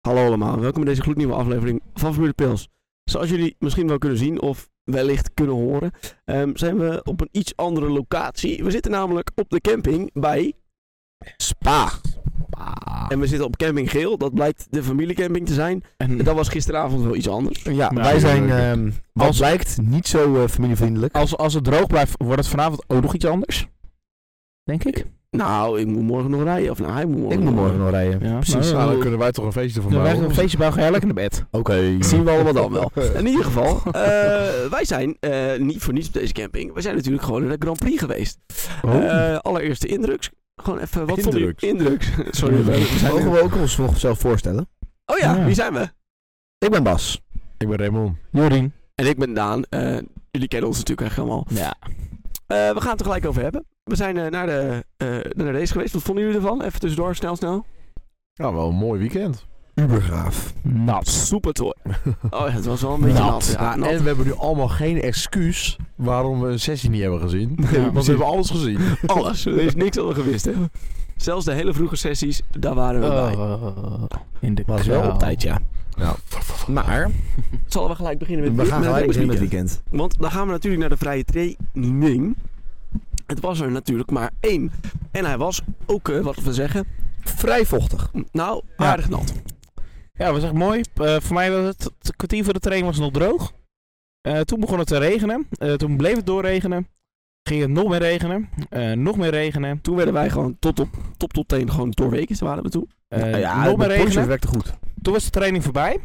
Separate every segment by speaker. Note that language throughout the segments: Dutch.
Speaker 1: Hallo allemaal, welkom bij deze gloednieuwe aflevering van Formule Pils. Zoals jullie misschien wel kunnen zien of wellicht kunnen horen, ehm, zijn we op een iets andere locatie. We zitten namelijk op de camping bij Spa. En we zitten op camping Geel, dat blijkt de familiecamping te zijn.
Speaker 2: En
Speaker 3: Hmm.
Speaker 1: En dat was gisteravond wel iets anders.
Speaker 2: ja,
Speaker 3: Nou,
Speaker 2: wij zijn,
Speaker 3: eh,
Speaker 2: ehm,
Speaker 3: Wat
Speaker 2: als,
Speaker 3: blijkt niet zo eh, familievriendelijk.
Speaker 2: als, als het droog blijft, wordt het vanavond ook nog iets anders. Denk ik.
Speaker 1: Nou, ik moet morgen nog rijden. Of nou, hij moet morgen
Speaker 3: Ik moet morgen nog rijden.
Speaker 2: Ja,
Speaker 1: precies.
Speaker 2: Nou,
Speaker 4: Nou,
Speaker 3: eh,
Speaker 4: dan
Speaker 2: dan
Speaker 4: kunnen wij toch een feestje
Speaker 2: dan
Speaker 4: van maken.
Speaker 2: wij gaan een
Speaker 4: hoor.
Speaker 2: feestje bij elkaar lekker naar bed.
Speaker 3: Oké.
Speaker 1: Dat zien we allemaal dan wel. In ieder geval, eh, wij zijn eh, niet voor niets op deze camping. We zijn natuurlijk gewoon naar de Grand Prix geweest.
Speaker 3: Oh.
Speaker 1: Eh, allereerste indruks. Gewoon even, wat vond je?
Speaker 4: Indruks.
Speaker 1: Indruks. Sorry. we zijn
Speaker 3: Mogen
Speaker 1: er-
Speaker 3: we ook ons nog zelf voorstellen?
Speaker 1: Oh ja,
Speaker 2: Ja.
Speaker 1: wie zijn we?
Speaker 3: Ik ben Bas.
Speaker 4: Ik ben Raymond.
Speaker 2: Jorien.
Speaker 1: En ik ben Daan. Eh, jullie kennen ons natuurlijk echt allemaal.
Speaker 2: Ja.
Speaker 1: Eh, we gaan het er gelijk over hebben. We zijn eh, naar, de, eh, naar de race geweest. Wat vonden jullie ervan? Even tussendoor, snel, snel.
Speaker 4: Ja, Nou, wel een mooi weekend.
Speaker 3: Ubergraaf.
Speaker 2: Nat.
Speaker 1: Super toy. Oh ja, het was wel een beetje
Speaker 2: Nat.
Speaker 1: nat. Ja, nat.
Speaker 4: En we hebben nu allemaal geen excuus waarom we een sessie niet hebben gezien. Want
Speaker 2: precies.
Speaker 4: we hebben alles gezien.
Speaker 1: alles. Er is niks dat we gewist hebben. Zelfs de hele vroege sessies, daar waren we bij.
Speaker 2: Oh, in de
Speaker 3: Was Eh, wel
Speaker 2: kou.
Speaker 3: op tijd, ja.
Speaker 4: Ja.
Speaker 3: Maar,
Speaker 1: Zullen we gelijk beginnen met
Speaker 3: we
Speaker 1: het
Speaker 3: gaan gelijk
Speaker 1: het
Speaker 3: beginnen
Speaker 1: raceweekend?
Speaker 3: met het weekend.
Speaker 1: Want dan gaan we natuurlijk naar de vrije training. Het was er natuurlijk maar één. En hij was ook, eh, wat we zeggen,
Speaker 3: Vrij vochtig.
Speaker 1: nou,
Speaker 2: Ja.
Speaker 1: aardig nat.
Speaker 2: Ja, was echt mooi. Eh, voor mij was het, het kwartier voor de training was het nog droog. Eh, toen begon het te regenen. Eh, toen bleef het doorregenen. Ging het nog meer regenen. Eh, nog meer regenen.
Speaker 1: Toen werden wij gewoon tot op top tot teen gewoon doorweken. Ze waren we toen.
Speaker 2: Eh,
Speaker 3: Ah, ja,
Speaker 2: nog meer
Speaker 3: de Porsche
Speaker 2: regenen.
Speaker 3: werkte goed.
Speaker 2: Toen was de training voorbij.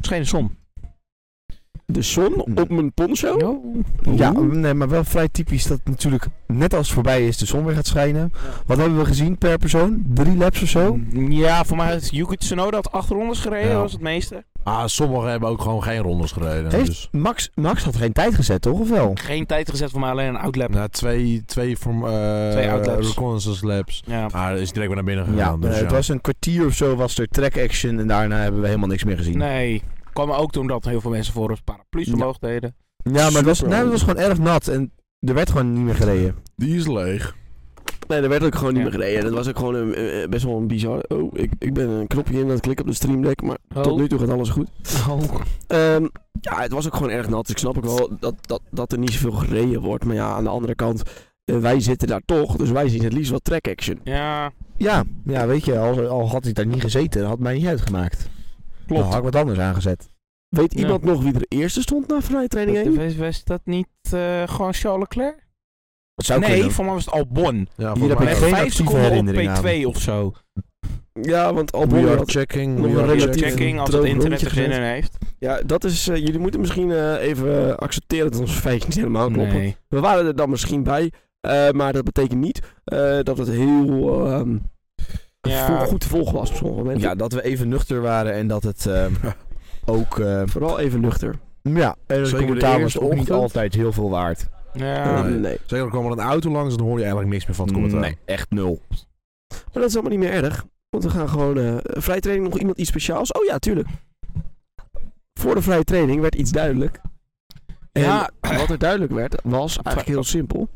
Speaker 2: Scheen de zon.
Speaker 1: De zon op mijn poncho.
Speaker 3: Ja, nee, maar wel vrij typisch dat natuurlijk net als het voorbij is de zon weer gaat schijnen. Wat hebben we gezien per persoon? Drie laps of zo?
Speaker 2: Ja, voor mij heeft Yuki Tsunoda had acht rondes gereden.
Speaker 4: Ja.
Speaker 2: Dat was het meeste.
Speaker 4: Ah, sommigen hebben ook gewoon geen rondes gereden.
Speaker 3: Heeft-
Speaker 4: Dus.
Speaker 3: Max, Max had geen tijd gezet, toch? Of wel?
Speaker 2: Geen tijd gezet voor mij, alleen een outlap.
Speaker 4: Na twee, twee, form, eh,
Speaker 2: Twee outlaps.
Speaker 4: reconnaissance laps.
Speaker 2: Ja.
Speaker 4: Ah, is direct weer naar binnen
Speaker 3: Ja,
Speaker 4: gegaan. dus
Speaker 3: eh, het was een kwartier of zo was er track action en daarna hebben we helemaal niks meer gezien.
Speaker 2: Nee. Kwam ook toen dat heel veel mensen voor het paraplu's
Speaker 3: Ja.
Speaker 2: omhoog deden.
Speaker 3: Ja, maar het was,
Speaker 1: Super.
Speaker 3: nee, het was gewoon erg nat en er werd gewoon niet meer gereden.
Speaker 4: Die is leeg.
Speaker 1: Nee, er werd ook gewoon niet
Speaker 2: Ja.
Speaker 1: meer gereden. Dat was ook gewoon een, eh, eh, best wel een bizar. Oh, ik, ik ben een knopje in aan het klikken op de streamdeck. Maar
Speaker 2: Oh.
Speaker 1: tot nu toe gaat alles goed. Ehm, ja, het was ook gewoon erg nat. Dus ik snap ook wel dat, dat, dat er niet zoveel gereden wordt. Maar ja, aan de andere kant, eh, wij zitten daar toch. Dus wij zien het liefst wat track action.
Speaker 2: Ja,
Speaker 3: Ja, ja weet je, al, al had hij daar niet gezeten, had het mij niet uitgemaakt. Dan had
Speaker 2: klopt.
Speaker 3: ik wat anders aangezet.
Speaker 1: Weet
Speaker 2: Ja.
Speaker 1: iemand nog wie er eerste stond na vrije training
Speaker 2: Dat-
Speaker 1: één?
Speaker 2: was, was dat niet eh, gewoon Charles Leclerc?
Speaker 3: Dat zou
Speaker 2: nee,
Speaker 3: kunnen.
Speaker 2: voor mij was het Albon.
Speaker 4: Ja,
Speaker 3: Hier heb
Speaker 2: Met
Speaker 3: ik geen
Speaker 2: vijf
Speaker 3: actieve
Speaker 2: seconden op
Speaker 3: herinnering
Speaker 2: P2 of zo.
Speaker 1: Ja, want Albon
Speaker 4: We are
Speaker 1: had...
Speaker 4: checking.
Speaker 1: nog
Speaker 4: we
Speaker 1: een
Speaker 4: are
Speaker 1: relatief-
Speaker 4: checking.
Speaker 2: Checking als
Speaker 1: droog
Speaker 2: het internet
Speaker 1: rondje
Speaker 2: er zin in heeft.
Speaker 1: Ja, dat is... eh, jullie moeten misschien eh, even eh, accepteren dat onze feitjes niet helemaal kloppen.
Speaker 2: Nee.
Speaker 1: We waren er dan misschien bij. eh, maar dat betekent niet eh, dat het heel ehm,
Speaker 2: Ja.
Speaker 1: vol- goed te volgen was op sommige momenten.
Speaker 3: Ja, dat we even nuchter waren en dat het ehm, ook... ehm,
Speaker 1: Vooral even nuchter.
Speaker 3: ja, en het
Speaker 4: Zeker de
Speaker 3: commentaar was
Speaker 4: eerste
Speaker 3: ook niet
Speaker 4: ochtend.
Speaker 3: altijd heel veel waard.
Speaker 2: Ja.
Speaker 1: Ehm, nee.
Speaker 4: nee. Zeker, er kwam er een auto langs en dan hoor je eigenlijk niks meer van het commentaar.
Speaker 3: Nee, echt nul.
Speaker 1: Maar dat is allemaal niet meer erg. Want we gaan gewoon... eh vrije training nog iemand iets speciaals? Oh ja, tuurlijk. Voor de vrije training werd iets duidelijk. En
Speaker 2: Ja.
Speaker 1: wat er duidelijk werd, was eigenlijk heel simpel.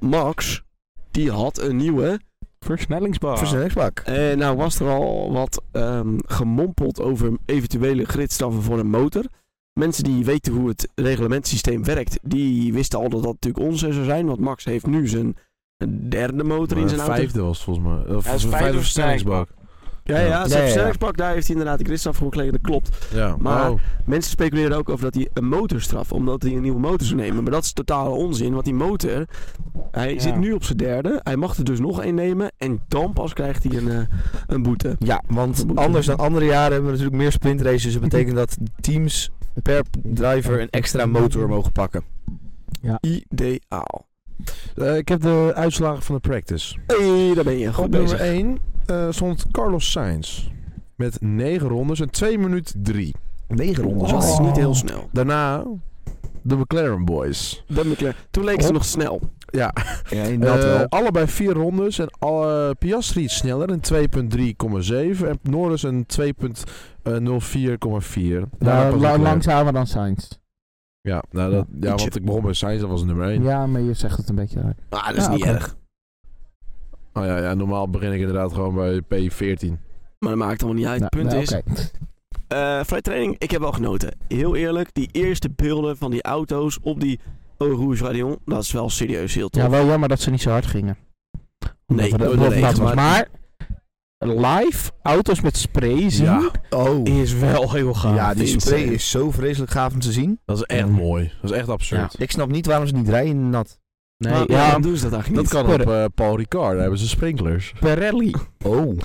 Speaker 1: Max, die had een nieuwe...
Speaker 2: Versnellingsbar.
Speaker 3: Versnellingsbak.
Speaker 1: En nou was er al wat ehm, gemompeld over eventuele gridstraffen voor een motor. Mensen die weten hoe het reglementssysteem werkt, die wisten al dat dat natuurlijk onzin zou zijn. Want Max heeft nu zijn derde motor in
Speaker 4: Maar
Speaker 1: zijn auto.
Speaker 4: Eh, vijfde was het volgens mij. Of
Speaker 2: Hij is
Speaker 4: vijfde,
Speaker 2: vijfde
Speaker 4: versnellingsbak.
Speaker 1: Ja, ja, zijn
Speaker 3: Ja, ja, ja.
Speaker 1: versnellingsbak, daar heeft hij inderdaad de gridstraf voor gekregen, dat klopt.
Speaker 4: Ja, Oh.
Speaker 1: Maar-
Speaker 4: maar
Speaker 1: Mensen speculeren ook over dat hij een motorstraf, omdat hij een nieuwe motor zou nemen. Maar dat is totale onzin, want die motor, hij
Speaker 2: Ja.
Speaker 1: zit nu op zijn derde. Hij mag er dus nog één nemen en dan pas krijgt hij een, eh, een boete.
Speaker 3: Ja, want anders dan andere jaren hebben we natuurlijk meer sprintraces. Dus dat betekent dat teams per driver een extra motor mogen pakken.
Speaker 1: Ideaal.
Speaker 4: Eh, ik heb de uitslagen van de practice.
Speaker 1: Hé, daar ben je. Goed
Speaker 4: Op nummer
Speaker 1: bezig.
Speaker 4: 1 stond Carlos Sainz. Met 9 rondes en 2 minuut 3.
Speaker 3: Negen rondes.
Speaker 1: Dus
Speaker 4: Oh.
Speaker 1: dat is
Speaker 3: al.
Speaker 1: niet heel snel.
Speaker 4: Daarna de McLaren Boys.
Speaker 1: Dan ben ik klaar. Toen leek ze
Speaker 4: Hop.
Speaker 1: nog snel.
Speaker 4: Ja,
Speaker 3: Ja, inderdaad
Speaker 4: eh,
Speaker 3: wel.
Speaker 4: allebei 4 rondes. En alle, Piastri iets sneller in 2.3,7. En Norris een eh, 2.04,4. Daarna
Speaker 5: Nou,
Speaker 4: pas
Speaker 5: la-
Speaker 4: McLaren.
Speaker 5: langzamer dan Sainz.
Speaker 4: Ja, nou, dat, ja, want ik begon bij Sainz, dat was nummer 1.
Speaker 5: Ja, maar je zegt het een beetje raar.
Speaker 1: Ah, dat is
Speaker 5: Ja,
Speaker 1: niet
Speaker 5: oké.
Speaker 1: erg.
Speaker 4: Oh ja, ja, normaal begin ik inderdaad gewoon bij P14.
Speaker 1: Maar dat maakt allemaal niet uit.
Speaker 6: Nou,
Speaker 1: Het punt
Speaker 6: nou,
Speaker 1: is,
Speaker 6: oké.
Speaker 1: eh vrij training, ik heb wel genoten. Heel eerlijk, die eerste beelden van die auto's op die Eau Rouge Radion, dat is wel serieus heel tof.
Speaker 2: Ja, wel jammer dat ze niet zo hard gingen. Omdat
Speaker 1: Nee,
Speaker 2: we dat-
Speaker 1: door de
Speaker 2: omdat we
Speaker 1: regen,
Speaker 2: dat was.
Speaker 1: maar-
Speaker 2: Maar live auto's met spray zien
Speaker 4: Ja,
Speaker 3: Oh.
Speaker 2: is wel heel gaaf.
Speaker 3: Ja, die
Speaker 1: vind
Speaker 3: spray
Speaker 1: ik.
Speaker 3: is zo vreselijk gaaf om te zien.
Speaker 4: dat is echt
Speaker 2: Mm.
Speaker 4: mooi. Dat is echt absurd.
Speaker 3: Ik snap niet waarom ze niet rijden in de nat.
Speaker 2: Nee,
Speaker 1: Maar
Speaker 2: ja,
Speaker 1: waarom doen ze dat eigenlijk
Speaker 4: Dat
Speaker 1: niet?
Speaker 4: kan op eh, Paul Ricard, daar hebben ze sprinklers.
Speaker 2: Pirelli.
Speaker 3: Oh.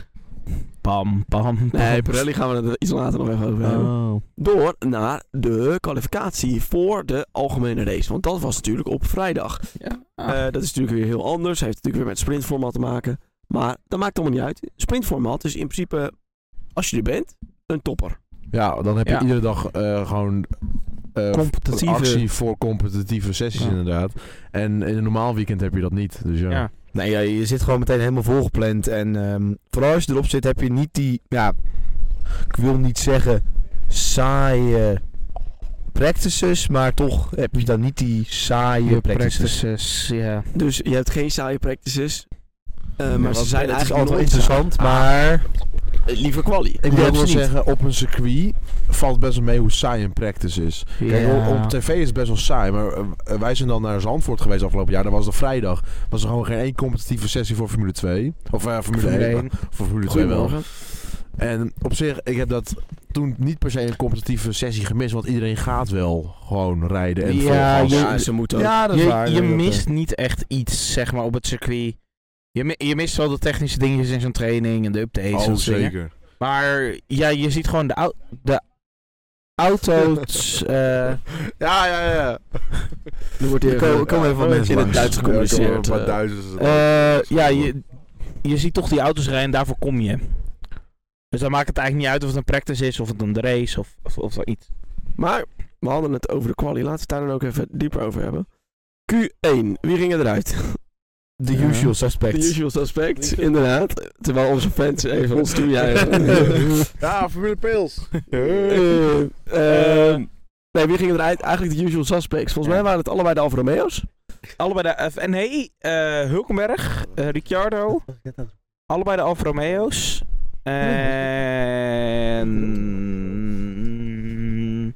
Speaker 2: Pam, pam, pam.
Speaker 1: Nee, Pirelli gaan we er iets later nog even over hebben.
Speaker 2: Oh.
Speaker 1: Door naar de kwalificatie voor de algemene race. Want dat was natuurlijk op vrijdag.
Speaker 6: Ja.
Speaker 1: Eh, dat is natuurlijk weer heel anders. Heeft natuurlijk weer met sprintformat te maken. Maar dat maakt allemaal niet uit. Sprintformat is in principe, als je er bent, een topper.
Speaker 4: Ja, dan heb je
Speaker 2: Ja.
Speaker 4: iedere dag eh, gewoon eh,
Speaker 2: Competitieve-
Speaker 4: actie voor competitieve sessies
Speaker 2: Ja.
Speaker 4: inderdaad. En in een normaal weekend heb je dat niet. Dus ja.
Speaker 2: Ja.
Speaker 3: Nee, ja, je zit gewoon meteen helemaal volgepland. En ehm, vooral als je erop zit, heb je niet die, ja, ik wil niet zeggen saaie practices, maar toch heb je dan niet die saaie
Speaker 2: Je
Speaker 3: practices.
Speaker 2: practices,
Speaker 4: eh,
Speaker 2: ja.
Speaker 1: Dus je hebt geen saaie practices. Eh,
Speaker 3: Ja,
Speaker 1: maar ze
Speaker 3: want
Speaker 1: zijn
Speaker 3: het is
Speaker 1: eigenlijk
Speaker 3: altijd wel
Speaker 1: nooit
Speaker 2: Ah.
Speaker 3: interessant, maar
Speaker 1: saai. Eh, Liever quali.
Speaker 4: Ik wil
Speaker 3: Die
Speaker 4: ook
Speaker 3: hebben
Speaker 4: wel
Speaker 3: ze niet.
Speaker 4: zeggen, op een circuit valt best wel mee hoe saai een practice is. Kijk,
Speaker 2: Ja.
Speaker 4: op, op tv is het best wel saai, maar eh, eh, wij zijn dan naar Zandvoort geweest afgelopen jaar. Dat was de vrijdag. Was er gewoon geen één competitieve sessie voor Formule 2. Of eh, Formule,
Speaker 2: Formule
Speaker 4: 1.
Speaker 2: één.
Speaker 4: Voor Formule 2 wel.
Speaker 1: Goedemorgen.
Speaker 4: En op zich, ik heb dat toen niet per se een competitieve sessie gemist, want iedereen gaat wel gewoon rijden en
Speaker 2: Ja,
Speaker 4: volgas.
Speaker 2: je-
Speaker 1: Ja, ze moeten ook.
Speaker 4: Ja, dat is
Speaker 2: je,
Speaker 4: waar.
Speaker 2: je
Speaker 4: Dat is
Speaker 2: mist niet echt iets, zeg maar, op het circuit. Je, mi- je mist wel de technische dingetjes in zo'n training en de updates. en
Speaker 4: ook- Oh,
Speaker 2: dat soort dingen.
Speaker 4: zeker.
Speaker 2: Maar ja, je ziet gewoon de, au de auto's. eh,
Speaker 4: Ja, ja, ja.
Speaker 1: Er wordt hier
Speaker 3: Er komen-
Speaker 1: gewoon-
Speaker 3: komen even wat mensen
Speaker 1: in het
Speaker 3: langs.
Speaker 1: Duits gecommuniceerd. eh.
Speaker 2: eh, ja, je, je ziet toch die auto's rijden en daarvoor kom je. Dus dan maakt het eigenlijk niet uit of het een practice is, of het een race, of, of, of iets.
Speaker 1: Maar we hadden het over de quali. Laten we het daar dan ook even dieper over hebben. Q1, wie ging eruit?
Speaker 3: the
Speaker 2: Ja.
Speaker 3: usual
Speaker 1: De
Speaker 3: suspects.
Speaker 1: usual suspects, inderdaad. Terwijl onze fans even ons toejuichen.
Speaker 4: Ja, Formule Pils.
Speaker 1: Eh, ehm, nee, wie ging eruit? Eigenlijk de usual suspects. Volgens mij waren het allebei de Alfa Romeo's.
Speaker 2: Allebei de F. En hey, eh, Hulkenberg, eh, Ricciardo. Allebei de Alfa Romeo's. En.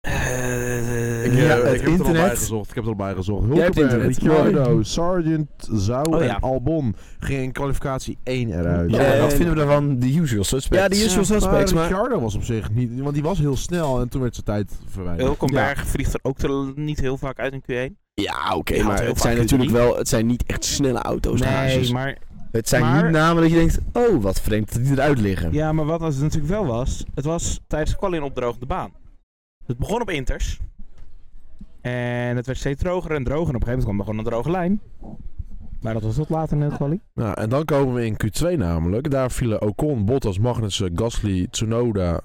Speaker 2: Eh,
Speaker 4: Ik,
Speaker 3: Ja,
Speaker 4: ja,
Speaker 3: het
Speaker 4: ik heb het er al
Speaker 3: internet.
Speaker 4: bij gezocht. Ik heb het al bij gezocht.
Speaker 1: Jij hebt
Speaker 4: Hulkenberg,
Speaker 1: internet.
Speaker 4: Ricciardo, Sargent, Nou, Zou
Speaker 2: Oh, ja.
Speaker 4: en Albon gingen in kwalificatie 1 eruit.
Speaker 1: Ja,
Speaker 3: Ja,
Speaker 1: en-
Speaker 3: wat vinden we daarvan? The usual suspects.
Speaker 1: Ja, de usual suspects.
Speaker 4: maar
Speaker 1: Maar
Speaker 4: Ricciardo was op zich niet, want die was heel snel en toen werd zijn tijd verwijderd.
Speaker 2: Hulkenberg vliegt er ook te- niet heel vaak uit in Q1.
Speaker 1: ja, oké.
Speaker 2: Ja, want
Speaker 1: maar
Speaker 2: heel
Speaker 1: het
Speaker 2: vaak
Speaker 1: zijn natuurlijk
Speaker 2: Q3.
Speaker 1: wel, het zijn niet echt snelle auto's. garages.
Speaker 2: maar,
Speaker 3: Het zijn
Speaker 2: Maar-
Speaker 3: niet namen dat je denkt, oh, wat vreemd dat die eruit liggen.
Speaker 2: ja, maar wat het natuurlijk wel was, het was tijdens de kwal in opdroogde baan. Het begon op inters. En het werd steeds droger en droger. En op een gegeven moment kwam er gewoon een droge lijn. Maar dat was tot later in de quali.
Speaker 4: Nou, en dan komen we in Q2 namelijk. Daar vielen Ocon, Bottas, Magnussen, Gasly, Tsunoda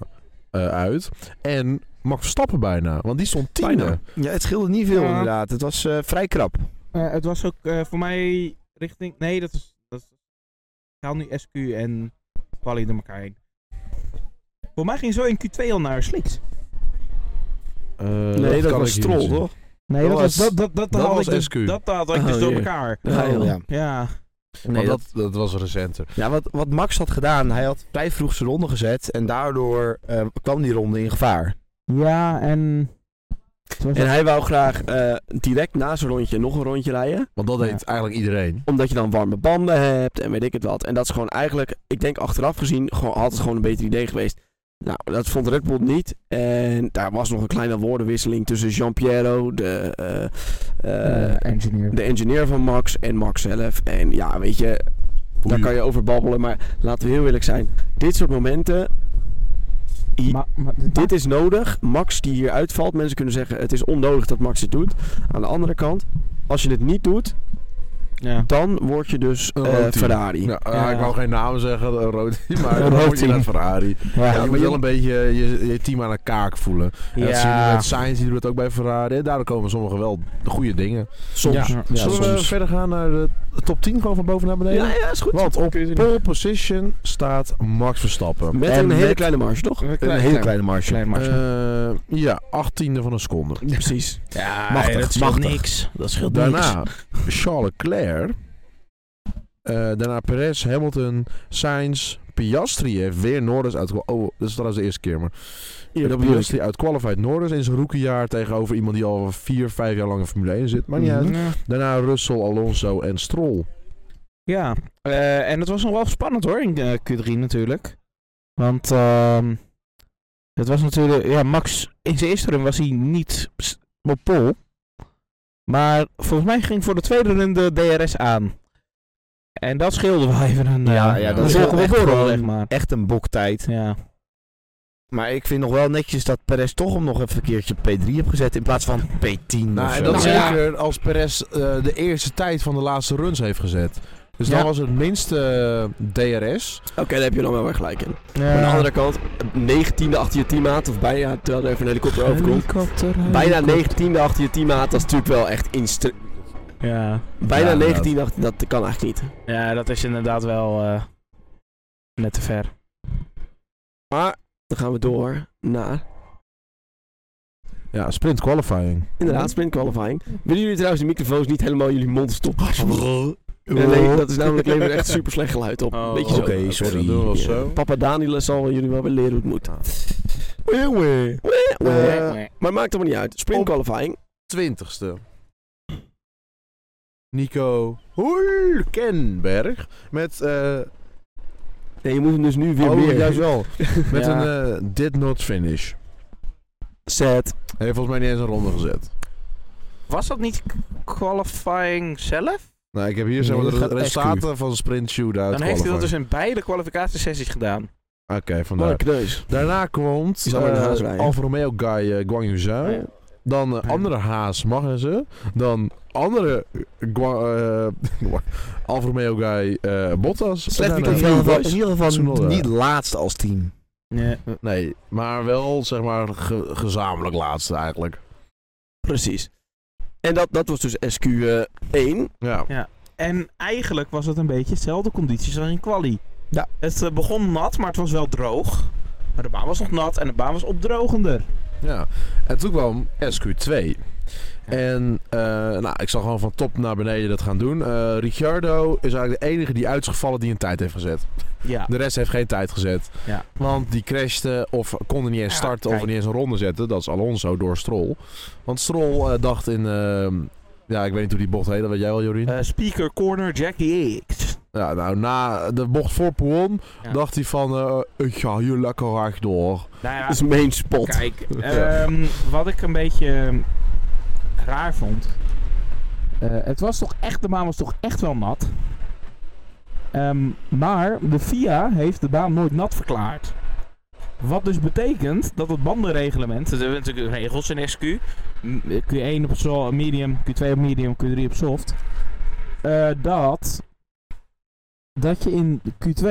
Speaker 4: eh, uit. En Max Verstappen bijna, want die stond tiende.
Speaker 1: Bijna.
Speaker 3: Ja, het scheelde niet veel
Speaker 2: Ja.
Speaker 3: inderdaad. Het was eh, vrij krap.
Speaker 2: Eh, het was ook eh, voor mij richting. Nee, dat is. Dat is ik haal nu SQ en Quali door elkaar heen. Voor mij ging zo in Q2 al naar Slicks.
Speaker 4: Eh,
Speaker 1: Nee, dat
Speaker 4: kan
Speaker 1: was
Speaker 4: ik hier
Speaker 1: Stroll,
Speaker 4: niet zien.
Speaker 1: toch?
Speaker 2: Nee,
Speaker 4: Dat was-
Speaker 2: dat, dat,
Speaker 4: dat
Speaker 2: had
Speaker 4: was
Speaker 2: ik dus-
Speaker 4: SQ.
Speaker 2: Dat had ik
Speaker 1: Oh,
Speaker 2: dus door
Speaker 1: jee.
Speaker 2: elkaar.
Speaker 1: Ja,
Speaker 3: Oh, ja.
Speaker 2: Ja.
Speaker 3: Nee,
Speaker 4: Want dat, dat was recenter.
Speaker 3: Ja, wat, wat Max had gedaan, hij had vrij vroeg zijn ronde gezet en daardoor eh, kwam die ronde in gevaar.
Speaker 2: Ja, en.
Speaker 1: En hij wou graag eh, direct na zijn rondje nog een rondje rijden.
Speaker 4: Want dat
Speaker 2: Ja.
Speaker 4: deed eigenlijk iedereen.
Speaker 1: Omdat je dan warme banden hebt en weet ik het wat. En dat is gewoon eigenlijk, ik denk achteraf gezien, gewoon, had het gewoon een beter idee geweest. Nou, dat vond Red Bull niet. En daar was nog een kleine woordenwisseling tussen Gian Piero, de, eh, eh,
Speaker 6: engineer.
Speaker 1: de engineer van Max en Max zelf. En ja, weet je, daar
Speaker 4: Oei.
Speaker 1: kan je over babbelen. Maar laten we heel eerlijk zijn, dit soort momenten, i- dit is nodig. Max die hier uitvalt, mensen kunnen zeggen het is onnodig dat Max dit doet. Aan de andere kant, als je dit niet doet,
Speaker 2: ja.
Speaker 1: dan word je dus
Speaker 4: Een
Speaker 1: eh,
Speaker 4: rood team.
Speaker 1: Ferrari.
Speaker 4: Nou, eh,
Speaker 2: Ja.
Speaker 4: ik wou geen namen zeggen, eh, rood, maar dan
Speaker 3: rood
Speaker 4: moet je
Speaker 3: team.
Speaker 4: naar Ferrari. Ja, je
Speaker 3: maar
Speaker 4: moet
Speaker 3: je-
Speaker 4: wel een beetje je, je team aan de kaak voelen. En Dat zien we
Speaker 2: Ja.
Speaker 4: met Sainz, die doet het ook bij Ferrari. En daardoor komen sommigen wel de goede dingen.
Speaker 1: Soms.
Speaker 3: Ja.
Speaker 6: Ja,
Speaker 4: Zullen we
Speaker 6: soms.
Speaker 4: verder gaan naar de top 10, gewoon van boven naar beneden?
Speaker 1: Ja, ja, is goed.
Speaker 4: Want op pole position staat Max Verstappen.
Speaker 1: Met
Speaker 3: En
Speaker 1: een hele
Speaker 3: met-
Speaker 1: kleine marge, toch?
Speaker 3: een hele kleine marge.
Speaker 2: Klein marge.
Speaker 4: Eh, ja, achttiende van een seconde.
Speaker 1: Precies.
Speaker 2: ja,
Speaker 3: machtig,
Speaker 2: dat scheelt
Speaker 3: machtig.
Speaker 2: niks. Dat scheelt niks.
Speaker 4: Daarna Charles Leclerc. Eh, daarna Perez, Hamilton, Sainz, Piastri heeft weer Norris uit... Oh, dat is trouwens de eerste keer, maar...
Speaker 1: Ja,
Speaker 4: dat Piastri uitqualified Norris in zijn rookiejaar tegenover iemand die al vier, vijf jaar lang in Formule 1 zit. Maar niet uit.
Speaker 2: Ja.
Speaker 4: Daarna Russell, Alonso en Stroll.
Speaker 2: Ja, eh, en het was nog wel spannend hoor in eh, Q3 natuurlijk. Want ehm, het was natuurlijk, ja, Max in zijn eerste run was hij niet s- op pol. Maar volgens mij ging voor de tweede run de DRS aan. En dat scheelde wel even een.
Speaker 3: Ja,
Speaker 2: eh,
Speaker 3: ja,
Speaker 4: dat
Speaker 2: een
Speaker 4: is
Speaker 2: wolk op
Speaker 3: wel
Speaker 2: een
Speaker 3: echt
Speaker 2: borrel,
Speaker 3: gewoon-
Speaker 2: zeg maar.
Speaker 3: Echt een boktijd.
Speaker 2: Ja.
Speaker 3: Maar ik vind nog wel netjes dat Perez toch hem nog even een keertje op P3 heeft gezet in plaats van P10 of
Speaker 4: Nou, en
Speaker 3: zo.
Speaker 4: dat
Speaker 2: Nou, ja.
Speaker 4: zeker als Perez eh, de eerste tijd van de laatste runs heeft gezet. Dus
Speaker 2: Ja.
Speaker 4: dan was het minste eh, DRS.
Speaker 1: Oké, daar heb je dan wel weer gelijk in.
Speaker 2: Ja.
Speaker 1: Aan de andere kant, 19e achter je teammaat, of bijna, terwijl er even een helikopter overkomt.
Speaker 2: Helikopter,
Speaker 1: Bijna
Speaker 2: helikopter.
Speaker 1: 19e achter je teammaat, dat is natuurlijk wel echt instra...
Speaker 2: Ja.
Speaker 1: Bijna
Speaker 4: Ja,
Speaker 1: 19 achter, dat kan eigenlijk niet.
Speaker 2: ja, dat is inderdaad wel eh, net te ver.
Speaker 1: Maar, dan gaan we door naar,
Speaker 4: Ja, sprint qualifying.
Speaker 1: inderdaad, sprint qualifying. Willen jullie trouwens de microfoons niet helemaal in jullie mond stoppen? Nee, nee, dat is namelijk levert echt super slecht geluid op.
Speaker 2: Oh.
Speaker 1: Beetje zo.
Speaker 3: Oké, sorry.
Speaker 4: dan doen we wel
Speaker 1: Ja,
Speaker 4: zo.
Speaker 1: Papa Daniel zal jullie wel weer leren hoe het moet. Wee, wee.
Speaker 4: Eh,
Speaker 1: Maar maakt allemaal niet uit. Sprint
Speaker 4: Op-
Speaker 1: qualifying.
Speaker 4: Twintigste. Nico Hulkenberg. Met, eh
Speaker 1: Nee, je moet hem dus nu weer
Speaker 4: oh,
Speaker 1: meer.
Speaker 4: juist wel. Met
Speaker 2: Ja.
Speaker 4: een eh, did not finish.
Speaker 1: Set.
Speaker 4: Hij heeft volgens mij niet eens een ronde gezet.
Speaker 2: Was dat niet qualifying zelf?
Speaker 4: Nou, ik heb hier zeg
Speaker 3: Nee,
Speaker 4: maar
Speaker 3: dat
Speaker 4: de
Speaker 3: gaat
Speaker 4: resultaten van sprint shootout.
Speaker 2: Dan heeft hij dat
Speaker 4: qualifying.
Speaker 2: dus in beide kwalificatiesessies gedaan.
Speaker 4: Oké,
Speaker 1: Wat een
Speaker 4: vandaar.
Speaker 1: kneus.
Speaker 4: Daarna komt
Speaker 1: Die zal maar naar
Speaker 4: eh,
Speaker 1: huis rijden.
Speaker 4: Alfa Romeo guy eh, Guang Yuzhou.
Speaker 1: Ja.
Speaker 4: Dan eh,
Speaker 2: Ja.
Speaker 4: andere Haas Magnussen. Dan andere Guang, eh, Alfa Romeo guy eh, Bottas.
Speaker 3: Slecht
Speaker 4: En
Speaker 3: in
Speaker 4: dan, eh,
Speaker 3: ieder geval, in ieder
Speaker 4: Tsunoda.
Speaker 3: geval niet laatste als team.
Speaker 2: Nee.
Speaker 4: Nee, maar wel zeg maar ge- gezamenlijk laatste eigenlijk.
Speaker 1: Precies. En dat, dat was dus SQ1.
Speaker 4: Ja.
Speaker 2: En eigenlijk was het een beetje hetzelfde condities als in quali.
Speaker 3: Ja.
Speaker 2: Het eh, begon nat, maar het was wel droog. Maar de baan was nog nat en de baan was opdrogender.
Speaker 4: ja. En toen kwam SQ2. En eh, nou, ik zal gewoon van top naar beneden dat gaan doen. Eh, Ricciardo is eigenlijk de enige die uit is gevallen die een tijd heeft gezet.
Speaker 2: Ja.
Speaker 4: De rest heeft geen tijd gezet.
Speaker 2: Ja.
Speaker 4: Want die crashte of konden niet eens
Speaker 2: Ja,
Speaker 4: starten of
Speaker 2: kijk.
Speaker 4: niet eens een ronde zetten. Dat is Alonso door Stroll. Want Stroll eh, dacht in... ehm, ja, ik weet niet hoe die bocht heet. Dat weet jij wel, Jorien.
Speaker 2: Eh, speaker corner Jackie X.
Speaker 4: Ja, nou, na de bocht voor Poon
Speaker 2: Ja.
Speaker 4: dacht hij van... eh, ik ga hier lekker hard door.
Speaker 2: Nou ja,
Speaker 1: Dat is main spot.
Speaker 2: kijk.
Speaker 4: Ja.
Speaker 2: ehm, wat ik een beetje ehm, raar vond. Eh, het was toch echt, de baan was toch echt wel nat. Ehm, maar de FIA heeft de baan nooit nat verklaard. Wat dus betekent dat het bandenreglement, er zijn natuurlijk regels in SQ, m- Q1 op zo- medium, Q2 op medium, Q3 op soft, eh, dat, dat je in Q2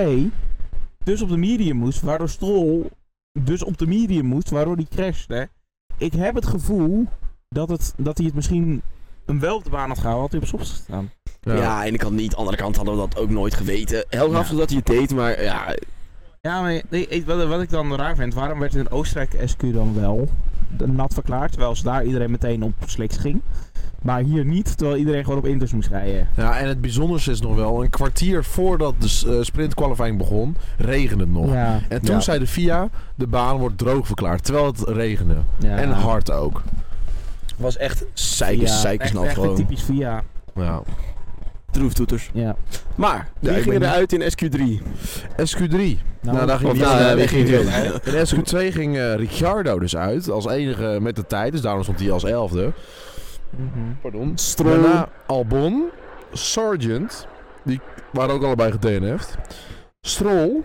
Speaker 2: dus op de medium moest, waardoor Stroll dus op de medium moest, waardoor die crashte. Ik heb het gevoel dat, het, dat hij het misschien hem wel op de baan had gehouden, had hij op soft gestaan.
Speaker 1: Ja, aan de ene kant niet. Aan de andere kant hadden we dat ook nooit geweten. Heel grappig dat hij het deed, maar ja,
Speaker 2: Ja, maar nee, ik- wat, wat ik dan raar vind, waarom werd in Oostenrijk SQ dan wel de- nat verklaard, terwijl ze daar iedereen meteen op sliks ging. Maar hier niet, terwijl iedereen gewoon op inters moest rijden.
Speaker 4: Ja, en het bijzonderste is nog wel... een kwartier voordat de s- eh, sprint qualifying begon... regende het nog.
Speaker 2: Ja,
Speaker 4: En toen
Speaker 3: Ja.
Speaker 4: zei de FIA... de baan wordt droog verklaard. Terwijl het regende.
Speaker 2: ja.
Speaker 4: En hard ook.
Speaker 3: Was echt zeikers,
Speaker 2: Ja,
Speaker 3: zeikers
Speaker 2: echt-
Speaker 3: nat
Speaker 2: echt een
Speaker 3: gewoon.
Speaker 2: typisch via.
Speaker 4: Ja.
Speaker 1: troeftoeters.
Speaker 2: Ja.
Speaker 1: Maar,
Speaker 4: ik
Speaker 1: die gingen
Speaker 4: ben-
Speaker 1: eruit in SQ3.
Speaker 4: SQ3. Nou, daar ging
Speaker 1: Of
Speaker 4: die
Speaker 1: nou,
Speaker 4: uit.
Speaker 1: daar ging die uit.
Speaker 4: In SQ2 ging eh, Ricciardo dus uit. Als enige met de tijd. Dus daarom stond hij als elfde.
Speaker 2: Mhm.
Speaker 4: Pardon.
Speaker 1: Stroll.
Speaker 4: Daarna Albon. Sargent. Die waren ook allebei gedNF'd. Stroll.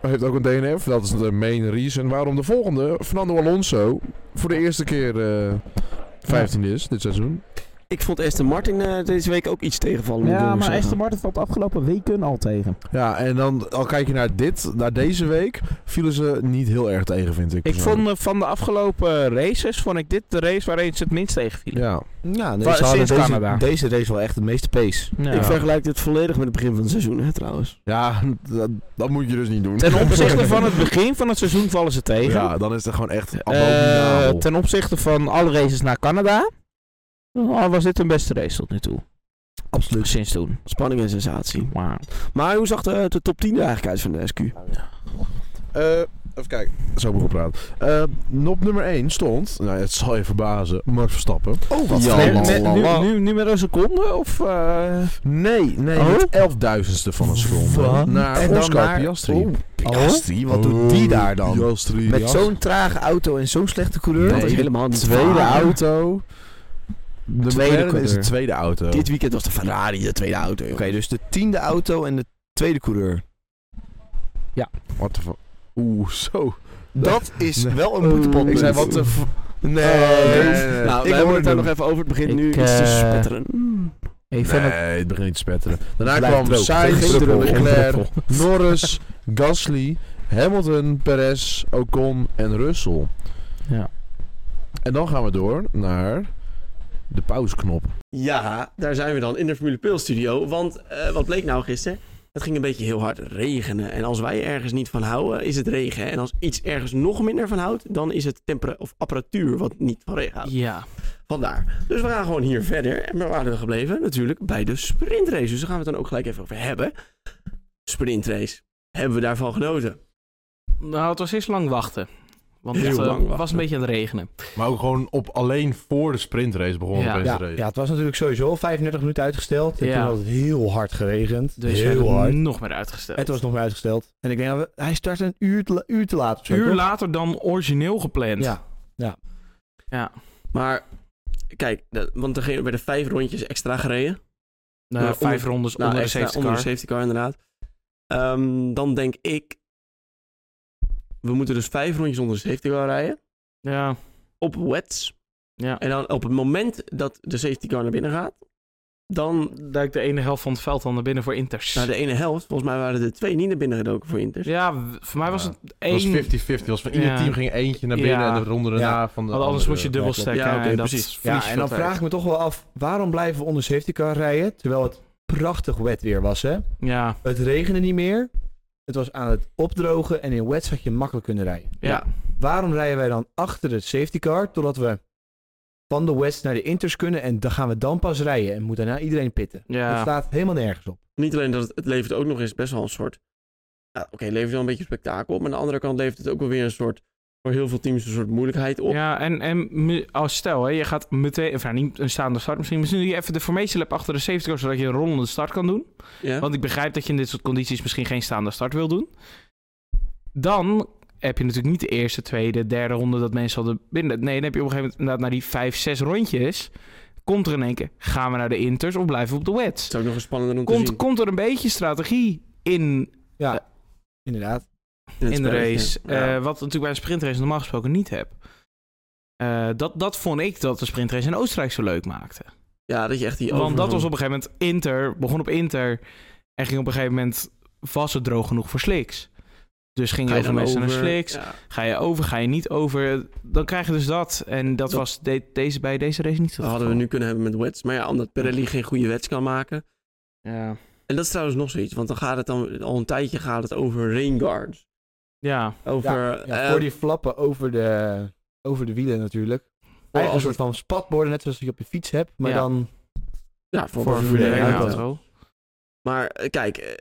Speaker 4: Heeft ook een DNF. Dat is de main reason waarom de volgende, Fernando Alonso, voor de eerste keer eh 15 is dit seizoen.
Speaker 1: Ik vond Aston Martin eh, deze week ook iets tegenvallen. moet ik
Speaker 2: Ja,
Speaker 1: eerlijk
Speaker 2: maar
Speaker 1: zeggen.
Speaker 2: Aston Martin valt de afgelopen weken al tegen.
Speaker 4: Ja, en dan al kijk je naar dit, naar deze week, vielen ze niet heel erg tegen, vind ik.
Speaker 2: Ik
Speaker 4: persoonlijk.
Speaker 2: vond eh, van de afgelopen races, vond ik dit de race waarin ze het minst tegenvielen.
Speaker 4: Ja.
Speaker 3: Ja,
Speaker 2: Waar-
Speaker 3: nee, ze hadden
Speaker 2: sinds
Speaker 3: deze,
Speaker 2: Canada.
Speaker 3: deze race wel echt de meeste pace.
Speaker 2: Ja.
Speaker 1: Ik vergelijk dit volledig met het begin van het seizoen, hè, trouwens.
Speaker 4: Ja, dat, dat moet je dus niet doen.
Speaker 2: Ten opzichte van het begin van het seizoen vallen ze tegen.
Speaker 4: Ja, dan is het gewoon echt
Speaker 2: Eh,
Speaker 4: abominabel.
Speaker 2: ten oh, opzichte van alle races naar Canada eh, was dit hun beste race tot nu toe.
Speaker 3: absoluut.
Speaker 2: Sinds toen.
Speaker 1: Spanning en sensatie.
Speaker 2: Wauw.
Speaker 1: Maar hoe zag de, de top 10 er eigenlijk uit van de SQ?
Speaker 7: Eh, even kijken. Zo moet ik praten. Eh, op nummer 1 stond, nou het zal je verbazen, Max Verstappen.
Speaker 3: Oh,
Speaker 1: wat Ja,
Speaker 3: nee,
Speaker 1: man,
Speaker 3: nee,
Speaker 1: man,
Speaker 3: nu-
Speaker 1: man.
Speaker 3: nu-
Speaker 2: nummer een seconde of... eh,
Speaker 3: Nee, nee.
Speaker 7: Oh?
Speaker 3: niet.
Speaker 7: Het elfduizendste van een seconde.
Speaker 3: Wat?
Speaker 7: Naar
Speaker 3: En dan
Speaker 7: Oscar
Speaker 3: naar-
Speaker 7: Piastri. Oh,
Speaker 3: Oh, Piastri, wat doet die daar dan?
Speaker 7: Piastri,
Speaker 3: Met
Speaker 7: Piastri.
Speaker 3: zo'n trage auto en zo'n slechte coureur.
Speaker 1: dat is helemaal niet
Speaker 7: tweede
Speaker 1: waar.
Speaker 7: auto. De
Speaker 3: Tweede
Speaker 7: tweede is de
Speaker 3: coureur.
Speaker 7: tweede auto.
Speaker 1: Dit weekend was de Ferrari de tweede auto. joh.
Speaker 3: Oké, dus de tiende auto en de tweede coureur.
Speaker 7: What the fuck? Oeh, zo.
Speaker 3: Dat is
Speaker 7: Nee.
Speaker 3: wel een boetepot.
Speaker 7: Ik zei, wat de... f-
Speaker 3: Nee.
Speaker 7: Nee.
Speaker 1: Nou,
Speaker 7: Ik
Speaker 1: we hebben
Speaker 7: hoorde
Speaker 1: het daar
Speaker 7: hem.
Speaker 1: nog even over. Het begint
Speaker 5: Ik,
Speaker 1: nu iets te
Speaker 5: eh,
Speaker 1: spetteren. Mm.
Speaker 5: Ik vind
Speaker 7: Nee,
Speaker 5: het...
Speaker 7: het begint niet te spetteren. Daarna
Speaker 3: Blijft
Speaker 7: kwam
Speaker 3: droog.
Speaker 7: Sainz,
Speaker 3: Geen druppel, geen
Speaker 7: Leclerc, Norris, Gasly, Hamilton, Perez, Ocon en Russell.
Speaker 2: Ja.
Speaker 7: En dan gaan we door naar de pauzeknop.
Speaker 1: Ja, daar zijn we dan in de Formule Peel Studio. Want eh, wat bleek nou gisteren? Het ging een beetje heel hard regenen. En als wij ergens niet van houden, is het regen. hè? En als iets ergens nog minder van houdt, dan is het tempera- of apparatuur wat niet van regen houdt.
Speaker 5: Ja.
Speaker 1: Vandaar. Dus we gaan gewoon hier verder. En we waren we gebleven natuurlijk bij de sprintrace. Dus daar gaan we het dan ook gelijk even over hebben. Sprintrace. Hebben we daarvan genoten?
Speaker 8: Nou, het was eerst lang wachten. Want
Speaker 1: Heel
Speaker 8: het eh,
Speaker 1: lang wachten.
Speaker 8: was een beetje aan het regenen.
Speaker 4: Maar ook gewoon op alleen voor de sprintrace begon
Speaker 8: Ja.
Speaker 4: opeens
Speaker 3: Ja,
Speaker 4: de race.
Speaker 3: ja, het was natuurlijk sowieso al 35 minuten uitgesteld. En
Speaker 8: Ja.
Speaker 3: toen had het heel hard geregend.
Speaker 8: Dus we
Speaker 3: heel
Speaker 8: hebben
Speaker 3: hard.
Speaker 8: het nog meer uitgesteld.
Speaker 3: Het was nog maar uitgesteld. En ik denk, dat we, hij startte een uur te, la- uur te laat. of zo,
Speaker 8: een uur
Speaker 3: toch?
Speaker 8: later dan origineel gepland.
Speaker 3: Ja.
Speaker 8: Ja.
Speaker 1: Maar kijk, dat- want er gingen- werden vijf rondjes extra gereden.
Speaker 8: Nou,
Speaker 1: Nou,
Speaker 8: vijf
Speaker 1: onder-
Speaker 8: rondes
Speaker 1: Nou,
Speaker 8: onder de
Speaker 1: extra,
Speaker 8: safety
Speaker 1: onder de
Speaker 8: car.
Speaker 1: safety car, inderdaad. Ehm, dan denk ik... We moeten dus vijf rondjes onder de safety car rijden.
Speaker 8: Ja,
Speaker 1: Op wets.
Speaker 8: ja.
Speaker 1: En dan op het moment dat de safety car naar binnen gaat... Dan
Speaker 8: Duikt de ene helft van het veld dan naar binnen voor Inters.
Speaker 1: naar de ene helft. Volgens mij waren er twee niet naar binnen gedoken voor Inters.
Speaker 8: Ja, w- voor mij was het
Speaker 4: Het was 50-50.
Speaker 8: één...
Speaker 4: Het was van ieder
Speaker 8: Ja.
Speaker 4: team ging eentje naar binnen
Speaker 8: Ja.
Speaker 4: en de ronde daarna van de
Speaker 8: Want anders
Speaker 4: andere.
Speaker 8: moest je dubbel
Speaker 3: klopt.
Speaker 8: stekken.
Speaker 1: Ja, oké,
Speaker 8: en dat
Speaker 1: precies.
Speaker 8: verlies
Speaker 3: Ja, en dan
Speaker 8: veel tijd.
Speaker 3: vraag ik me toch wel af, waarom blijven we onder safety car rijden? Terwijl het prachtig wet weer was, hè?
Speaker 8: Ja,
Speaker 3: Het regende niet meer. Het was aan het opdrogen en in wets had je makkelijk kunnen rijden.
Speaker 8: ja.
Speaker 3: Waarom rijden wij dan achter de safety car totdat we van de wets naar de inters kunnen en dan gaan we dan pas rijden en moet daarna iedereen pitten?
Speaker 8: Ja.
Speaker 3: Dat staat helemaal nergens op.
Speaker 1: Niet alleen dat het, het levert ook nog eens best wel een soort... Nou, Oké, levert wel een beetje spektakel op. Maar aan de andere kant levert het ook wel weer een soort... Voor heel veel teams een soort moeilijkheid op.
Speaker 8: Ja, en, en me- als stel, hè, je gaat meteen, of nou, niet een staande start misschien, misschien doe je even de formation lap achter de safety car, zodat je een rollende start kan doen.
Speaker 1: Ja.
Speaker 8: Want ik begrijp dat je in dit soort condities misschien geen staande start wil doen. Dan heb je natuurlijk niet de eerste, tweede, derde ronde dat mensen hadden binnen. Nee, dan heb je op een gegeven moment inderdaad naar die vijf, zes rondjes, komt er in één keer, gaan we naar de inters of blijven we op de wets?
Speaker 1: Het is ook nog eens spannender om te
Speaker 8: Komt,
Speaker 1: zien.
Speaker 8: komt er een beetje strategie in,
Speaker 3: Ja,
Speaker 8: Eh,
Speaker 3: inderdaad.
Speaker 1: het
Speaker 8: in de
Speaker 1: spelletje.
Speaker 8: race?
Speaker 1: Ja.
Speaker 8: eh, wat natuurlijk bij een sprintrace normaal gesproken niet heb. Eh, dat, dat vond ik dat de sprintrace in Oostenrijk zo leuk maakte.
Speaker 1: Ja, dat je echt die
Speaker 8: Want
Speaker 1: overgang-
Speaker 8: dat was op een gegeven moment Inter, begon op Inter. En ging op een gegeven moment, was het droog genoeg voor slicks. Dus ging
Speaker 1: Ga
Speaker 8: je
Speaker 1: je
Speaker 8: over
Speaker 1: dan
Speaker 8: mensen naar
Speaker 1: over?
Speaker 8: slicks.
Speaker 1: Ja.
Speaker 8: Ga je over, ga je niet over. Dan krijg je dus dat. En dat,
Speaker 1: Dat-
Speaker 8: was de- deze, bij deze race niet zo.
Speaker 1: Dat hadden we nu kunnen hebben met wets. Maar ja, omdat Pirelli geen goede wets kan maken.
Speaker 8: Ja.
Speaker 1: En dat is trouwens nog zoiets. Want dan gaat het dan, al een tijdje gaat het over rain guards.
Speaker 8: ja.
Speaker 1: Over,
Speaker 3: Ja, ja,
Speaker 1: eh,
Speaker 3: voor die flappen over de, over de wielen natuurlijk.
Speaker 1: voor
Speaker 3: Eigenlijk
Speaker 1: als
Speaker 3: een soort
Speaker 1: het-
Speaker 3: van spatborden, net zoals je op je fiets hebt, maar
Speaker 8: Ja.
Speaker 3: dan...
Speaker 1: ja, voor,
Speaker 8: Voor
Speaker 1: voor
Speaker 8: een
Speaker 1: de
Speaker 8: Formule
Speaker 3: ja,
Speaker 8: 1
Speaker 1: rain
Speaker 3: ja.
Speaker 1: guards.
Speaker 8: auto.
Speaker 1: Maar eh, kijk, eh,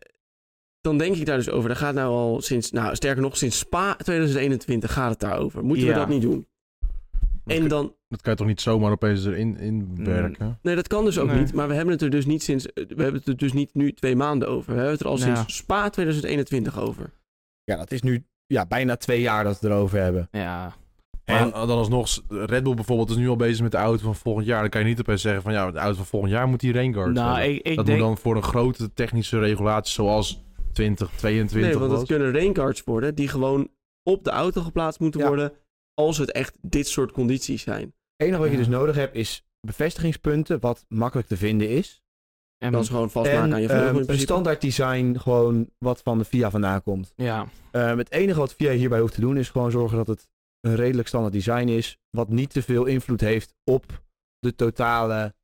Speaker 1: dan denk ik daar dus over. Dat gaat nou al sinds, nou sterker nog, sinds Spa 2021 gaat het daarover. Moeten we
Speaker 8: Ja.
Speaker 1: dat niet doen? En dan,
Speaker 4: Dat kan je toch niet zomaar opeens erin
Speaker 8: Mm.
Speaker 4: in werken?
Speaker 1: nee, dat kan dus ook
Speaker 8: Nee.
Speaker 1: niet. Maar we hebben het er dus niet sinds, eh, we hebben het er dus niet nu twee maanden over. We hebben het er al
Speaker 8: Ja.
Speaker 1: sinds Spa 2021 over.
Speaker 3: Ja, dat is nu ja, bijna twee jaar dat we het erover hebben.
Speaker 8: Ja.
Speaker 4: En dan alsnog, s- Red Bull bijvoorbeeld is nu al bezig met de auto van volgend jaar. Dan kan je niet opeens zeggen van ja, de auto van volgend jaar moet die rain guard
Speaker 8: Nou,
Speaker 4: hebben.
Speaker 8: ik, ik
Speaker 4: dat
Speaker 8: denk.
Speaker 4: moet dan voor een grote technische regulatie zoals 2022
Speaker 1: Nee, want
Speaker 4: was.
Speaker 1: het kunnen raincards worden die gewoon op de auto geplaatst moeten
Speaker 3: Ja.
Speaker 1: worden als het echt dit soort condities zijn.
Speaker 3: Het enige wat je
Speaker 8: Ja.
Speaker 3: dus nodig hebt is bevestigingspunten, wat makkelijk te vinden is.
Speaker 8: en,
Speaker 1: Dat is gewoon vastmaken
Speaker 3: En
Speaker 1: aan je
Speaker 3: ehm,
Speaker 1: vleugel in
Speaker 3: een
Speaker 1: principe.
Speaker 3: standaard design gewoon wat van de VIA vandaan komt.
Speaker 8: ja.
Speaker 3: Ehm, het enige wat VIA hierbij hoeft te doen is gewoon zorgen dat het een redelijk standaard design is. Wat niet te veel invloed heeft op de totale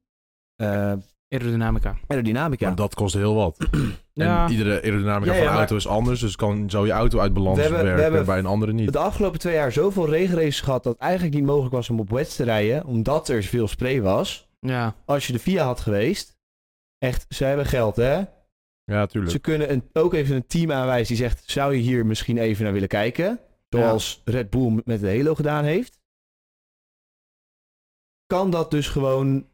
Speaker 3: eh,
Speaker 8: Aerodynamica.
Speaker 3: aerodynamica.
Speaker 4: Maar dat kost heel wat.
Speaker 8: Ja.
Speaker 4: En iedere aerodynamica
Speaker 3: Ja,
Speaker 4: van
Speaker 3: ja,
Speaker 4: een
Speaker 3: maar-
Speaker 4: auto is anders. Dus kan zo je auto uit balans
Speaker 3: We hebben- we
Speaker 4: werken
Speaker 3: hebben-
Speaker 4: bij een andere niet.
Speaker 3: De afgelopen twee jaar zoveel regenraces gehad dat het eigenlijk niet mogelijk was om op wets te rijden. Omdat er veel spray was.
Speaker 8: Ja.
Speaker 3: Als je de VIA had geweest, Echt, ze hebben geld, hè?
Speaker 4: Ja, tuurlijk.
Speaker 3: Ze kunnen een, ook even een team aanwijzen die zegt: zou je hier misschien even naar willen kijken? Zoals Red Bull met de Halo gedaan heeft. Kan dat dus gewoon,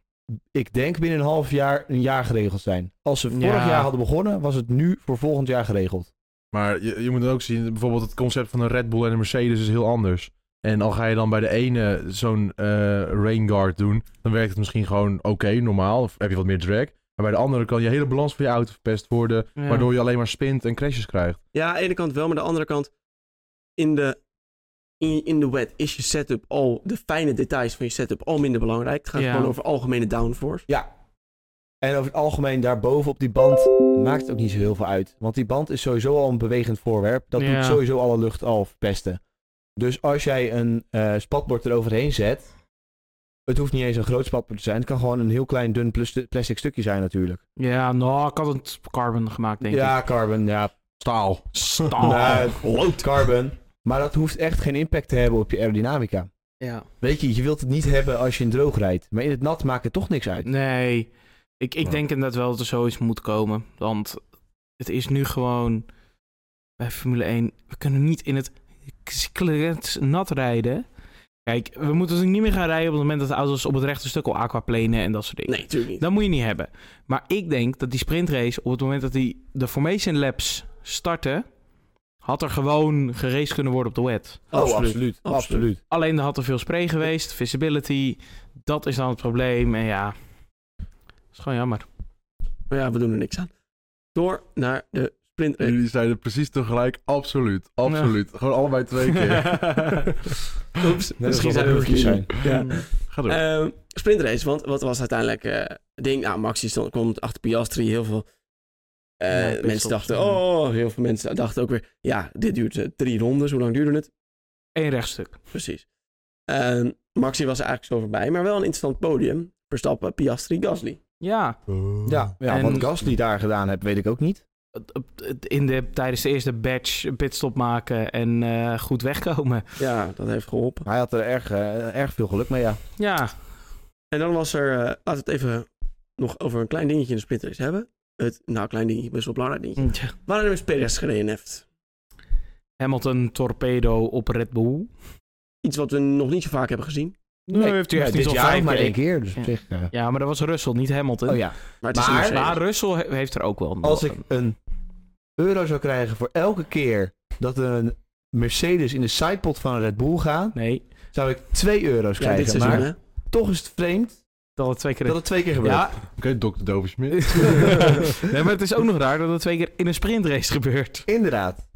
Speaker 3: ik denk binnen een half jaar, een jaar geregeld zijn? Als ze vorig
Speaker 8: Ja.
Speaker 3: jaar hadden begonnen, was het nu voor volgend jaar geregeld.
Speaker 4: Maar je, je moet dan ook zien, bijvoorbeeld het concept van een Red Bull en een Mercedes is heel anders. En al ga je dan bij de ene zo'n eh rain guard doen, dan werkt het misschien gewoon oké, normaal. Of heb je wat meer drag. Maar bij de andere kan je hele balans van je auto verpest worden,
Speaker 8: Ja.
Speaker 4: waardoor je alleen maar spint en crashes krijgt.
Speaker 1: Ja, aan de ene kant wel, maar aan de andere kant, in de, in, in de wet is je setup al, de fijne details van je setup al minder belangrijk. Het gaat
Speaker 8: Ja.
Speaker 1: gewoon over algemene downforce.
Speaker 3: Ja. En over het algemeen, daarboven op die band maakt het ook niet zo heel veel uit. Want die band is sowieso al een bewegend voorwerp. Dat
Speaker 8: Ja.
Speaker 3: doet sowieso alle lucht al verpesten. Dus als jij een eh, spatbord eroverheen zet. Het hoeft niet eens een groot spatbord te zijn. Het kan gewoon een heel klein dun plus- plastic stukje zijn natuurlijk.
Speaker 8: Ja, nou, ik had het carbon gemaakt, denk ik. Oh,
Speaker 3: ja, carbon. Ja,
Speaker 4: Staal.
Speaker 8: Staal.
Speaker 3: nou, carbon. Maar dat hoeft echt geen impact te hebben op je aerodynamica.
Speaker 8: Ja.
Speaker 3: Weet je, je wilt het niet hebben als je in droog rijdt. Maar in het nat maakt het toch niks uit.
Speaker 8: Nee, ik, ik
Speaker 4: Ja.
Speaker 8: denk inderdaad wel dat er zoiets moet komen. Want het is nu gewoon bij Formule 1. We kunnen niet in het klets nat rijden. Kijk, we moeten natuurlijk niet meer gaan rijden op het moment dat de auto's op het rechte stuk al aquaplanen en dat soort dingen.
Speaker 1: Nee, natuurlijk niet.
Speaker 8: Dat moet je niet hebben. Maar ik denk dat die sprintrace, op het moment dat die de Formation Labs starten, had er gewoon geraced kunnen worden op de wet.
Speaker 1: Oh, Absoluut.
Speaker 3: Oh, absoluut.
Speaker 8: Alleen er had er veel spray geweest, visibility. Dat is dan het probleem. En ja, is gewoon jammer.
Speaker 1: Maar ja, we doen er niks aan. Door naar de sprintrace.
Speaker 4: Jullie zeiden precies tegelijk, absoluut, absoluut. Gewoon allebei twee keer.
Speaker 1: Oeps,
Speaker 3: Net
Speaker 1: misschien
Speaker 3: alsof
Speaker 1: zijn
Speaker 3: dat
Speaker 1: we
Speaker 3: hoekjes zijn.
Speaker 1: Ja.
Speaker 4: Ga door.
Speaker 1: Ehm, sprintrace, want wat was uiteindelijk eh, het ding? Nou, Maxi stond, komt achter Piastri, heel veel eh,
Speaker 8: Ja, pitstops,
Speaker 1: mensen dachten,
Speaker 8: ja.
Speaker 1: oh, heel veel mensen dachten ook weer, ja, dit duurt eh, drie rondes, hoe lang duurde het?
Speaker 8: Eén rechtstuk.
Speaker 1: Precies. Ehm, Maxi was er eigenlijk zo voorbij, maar wel een interessant podium. Verstappen, Piastri, Gasly.
Speaker 8: Ja,
Speaker 3: Ja, ja
Speaker 8: En-
Speaker 3: wat Gasly daar gedaan heeft, weet ik ook niet.
Speaker 8: het- het- in de, tijdens de eerste batch een pitstop maken en eh, goed wegkomen.
Speaker 1: Ja, dat heeft geholpen.
Speaker 3: Hij had er erg, eh, erg veel geluk mee, ja.
Speaker 8: Ja,
Speaker 1: En dan was er, eh, laten we het even nog over een klein dingetje in de sprintrace hebben. Het, nou, klein dingetje, best wel belangrijk dingetje. Waarom is Perez gereden heeft?
Speaker 8: Hamilton torpedo op Red Bull.
Speaker 1: Iets wat we nog niet zo vaak hebben gezien.
Speaker 8: Nee, heeft hij
Speaker 3: Ja,
Speaker 8: echt niet
Speaker 3: dit
Speaker 8: al
Speaker 3: jaar
Speaker 8: vijf
Speaker 3: maar
Speaker 8: keer.
Speaker 3: één keer, dus op
Speaker 8: Ja.
Speaker 3: zich... eh,
Speaker 8: Ja, maar dat was Russell, niet Hamilton.
Speaker 3: Oh ja,
Speaker 1: Maar het is
Speaker 3: Maar-
Speaker 1: een Mercedes.
Speaker 8: Maar Russell he- heeft er ook wel een-
Speaker 3: als ik een euro zou krijgen voor elke keer dat een Mercedes in de sidepot van een Red Bull gaat,
Speaker 8: Nee,
Speaker 3: zou ik 2 euro's
Speaker 1: ja, dit
Speaker 3: krijgen.
Speaker 1: seizoen,
Speaker 3: maar
Speaker 1: hè?
Speaker 3: toch is het vreemd
Speaker 8: dat het twee keer...
Speaker 3: dat het twee keer gebeurt.
Speaker 8: ja,
Speaker 4: Oké, dokter Doversmit.
Speaker 8: nee, maar het is ook nog raar dat het twee keer in een sprintrace gebeurt.
Speaker 3: Inderdaad.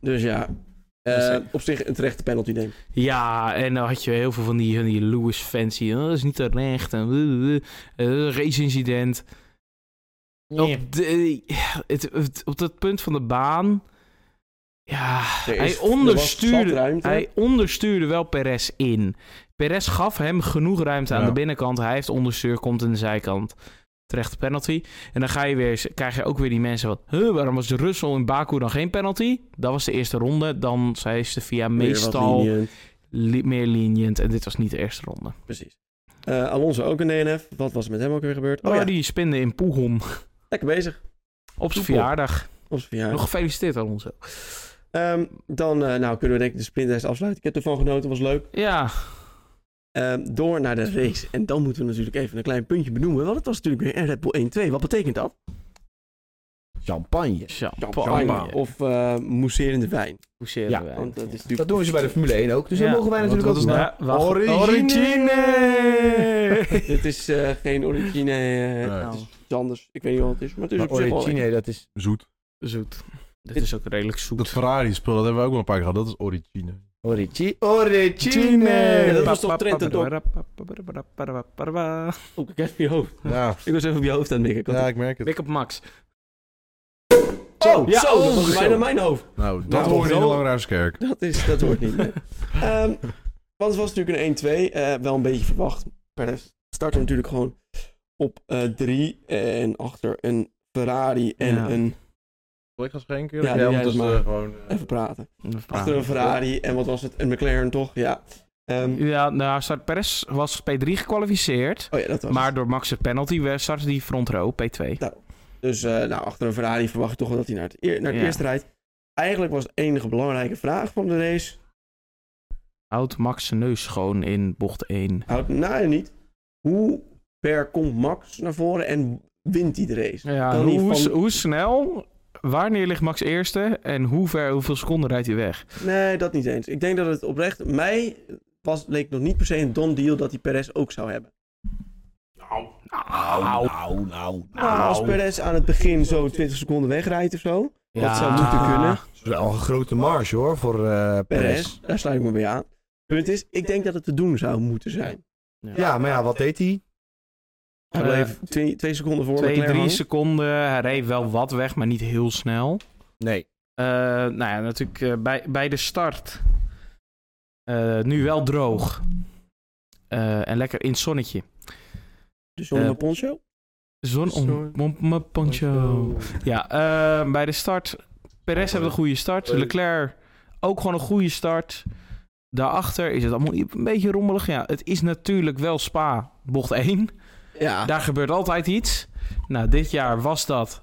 Speaker 1: Dus ja, eh, op zich een terechte penalty, denk ik.
Speaker 8: Ja, en dan had je heel veel van die, van die Lewis-fans die... "Oh, dat is niet terecht, en eh, race-incident. Op, de- ja, het, het- op dat punt van de baan... Ja, hij onderstuurde... Hij onderstuurde wel Perez in. Perez gaf hem genoeg ruimte aan
Speaker 4: Ja.
Speaker 8: de binnenkant. Hij heeft onderstuur, komt aan de zijkant. Terechte penalty. En dan ga je weer, eens- krijg je ook weer die mensen wat... "Huh, waarom was Russell in Baku dan geen penalty? Dat was de eerste ronde. Dan zei ze via meestal li- meer lenient. En dit was niet de eerste ronde.
Speaker 1: Precies. Eh, Alonso ook een DNF. Wat was er met hem ook weer gebeurd? Oh,
Speaker 8: Oh,
Speaker 1: ja,
Speaker 8: die spinde in Poegom.
Speaker 1: lekker bezig.
Speaker 8: Op zijn
Speaker 1: Poegom.
Speaker 8: verjaardag.
Speaker 1: Op zijn verjaardag.
Speaker 8: Nog gefeliciteerd aan ons.
Speaker 1: Ehm, dan eh, nou, kunnen we denk ik de sprintrace afsluiten. Ik heb ervan genoten, was leuk.
Speaker 8: Ja,
Speaker 1: Ehm, door naar de race. En dan moeten we natuurlijk even een klein puntje benoemen. Want het was natuurlijk weer een Red Bull 1-2. Wat betekent dat?
Speaker 3: Champagne.
Speaker 8: champagne.
Speaker 1: Of eh mousserende wijn.
Speaker 8: Hoezeren
Speaker 3: Ja,
Speaker 8: wij.
Speaker 1: Want dat is natuurlijk...
Speaker 3: Dat doen ze bij de Formule 1 ook, dus
Speaker 8: Ja.
Speaker 3: dat mogen wij natuurlijk
Speaker 4: Wat-
Speaker 3: ook
Speaker 4: wat is
Speaker 3: doen.
Speaker 8: Ja, wacht.
Speaker 4: Origine.
Speaker 1: Dit is eh, geen origine. eh,
Speaker 4: Nee.
Speaker 1: Het is iets anders. Ik weet niet wat het is. Maar het is
Speaker 3: Maar
Speaker 1: op zich wel lekker.
Speaker 3: Origine, dat is...
Speaker 4: Zoet.
Speaker 8: Zoet. Dit is ook redelijk zoet.
Speaker 4: Dat Ferrari-spul, dat hebben we ook wel een paar keer gehad. Dat is origine.
Speaker 3: Origi- Origine!
Speaker 1: Dat was toch Trent en Dorp? Oh, ik heb je hoofd.
Speaker 4: Ja,
Speaker 1: Ik was even op je hoofd aan het mikken. Ik had
Speaker 4: ja ik merk het.
Speaker 8: Wik op Max.
Speaker 1: Zo,
Speaker 8: Ja,
Speaker 1: zo, dat
Speaker 8: oh,
Speaker 1: was
Speaker 8: zo.
Speaker 1: bijna mijn hoofd.
Speaker 4: Nou, dat
Speaker 1: Nou,
Speaker 4: hoort niet in de
Speaker 1: wel-
Speaker 4: Langeraarskerk.
Speaker 1: Dat, is, dat hoort niet. nee. Ehm, want het was natuurlijk een 1-2. eh, wel een beetje verwacht. Perez startte natuurlijk gewoon op 3 en achter een Ferrari en
Speaker 8: Ja.
Speaker 1: een...
Speaker 4: Ik ga geen keer.
Speaker 1: Ja, doe jij
Speaker 4: want
Speaker 1: dat
Speaker 4: is, eh,
Speaker 1: maar.
Speaker 4: gewoon. eh,
Speaker 1: Even praten. Achter een Ferrari en wat was het? Een McLaren toch? Ja. Ehm, Ehm,
Speaker 8: Ja, nou, Start Perez was P3 gekwalificeerd.
Speaker 1: oh ja, dat was
Speaker 8: Maar
Speaker 1: het.
Speaker 8: door Max' penalty werd- startte die front row P2.
Speaker 1: Dus eh, nou, achter een Ferrari verwacht je toch wel dat hij naar het, eer- naar het
Speaker 8: Ja.
Speaker 1: eerste rijdt. Eigenlijk was de enige belangrijke vraag van de race...
Speaker 8: Houdt Max zijn neus schoon in bocht 1.
Speaker 1: Houdt na en niet. Hoe ver komt Max naar voren en wint hij de race?
Speaker 8: Ja,
Speaker 1: Kan hij
Speaker 8: hoe,
Speaker 1: van-
Speaker 8: s- hoe snel, wanneer ligt Max eerste en hoe ver, hoeveel seconden rijdt hij weg?
Speaker 1: Nee, dat niet eens. Ik denk dat het oprecht... Mij was, leek nog niet per se een don deal dat hij Perez ook zou hebben.
Speaker 8: Nou,
Speaker 2: Nou,
Speaker 1: Maar als Perez aan het begin zo 20 seconden wegrijdt of zo... Dat zou moeten kunnen.
Speaker 8: Ah,
Speaker 3: Dat is wel een grote marge hoor voor eh Perez.
Speaker 1: Perez, daar sluit ik me bij aan. Punt is, ik denk dat het te doen zou moeten zijn.
Speaker 3: Ja, maar ja, wat deed hij?
Speaker 1: Hij
Speaker 8: Eh,
Speaker 1: bleef twee, twee seconden voor
Speaker 8: Twee,
Speaker 1: Leclerc
Speaker 8: drie
Speaker 1: hangen.
Speaker 8: seconden. Hij reed wel wat weg, maar niet heel snel.
Speaker 3: Nee.
Speaker 8: Eh, nou ja, natuurlijk eh, bij, bij de start. eh, nu wel droog. Eh, en lekker in het zonnetje.
Speaker 1: Dus zonder
Speaker 8: Eh,
Speaker 1: een poncho.
Speaker 8: Zon om- om mijn poncho. Ja, eh, bij de start. Perez hebben een goede start. Leclerc ook gewoon een goede start. Daarachter is het allemaal een beetje rommelig. Ja, het is natuurlijk wel Spa, bocht 1.
Speaker 1: Ja,
Speaker 8: Daar gebeurt altijd iets. Nou, dit jaar was dat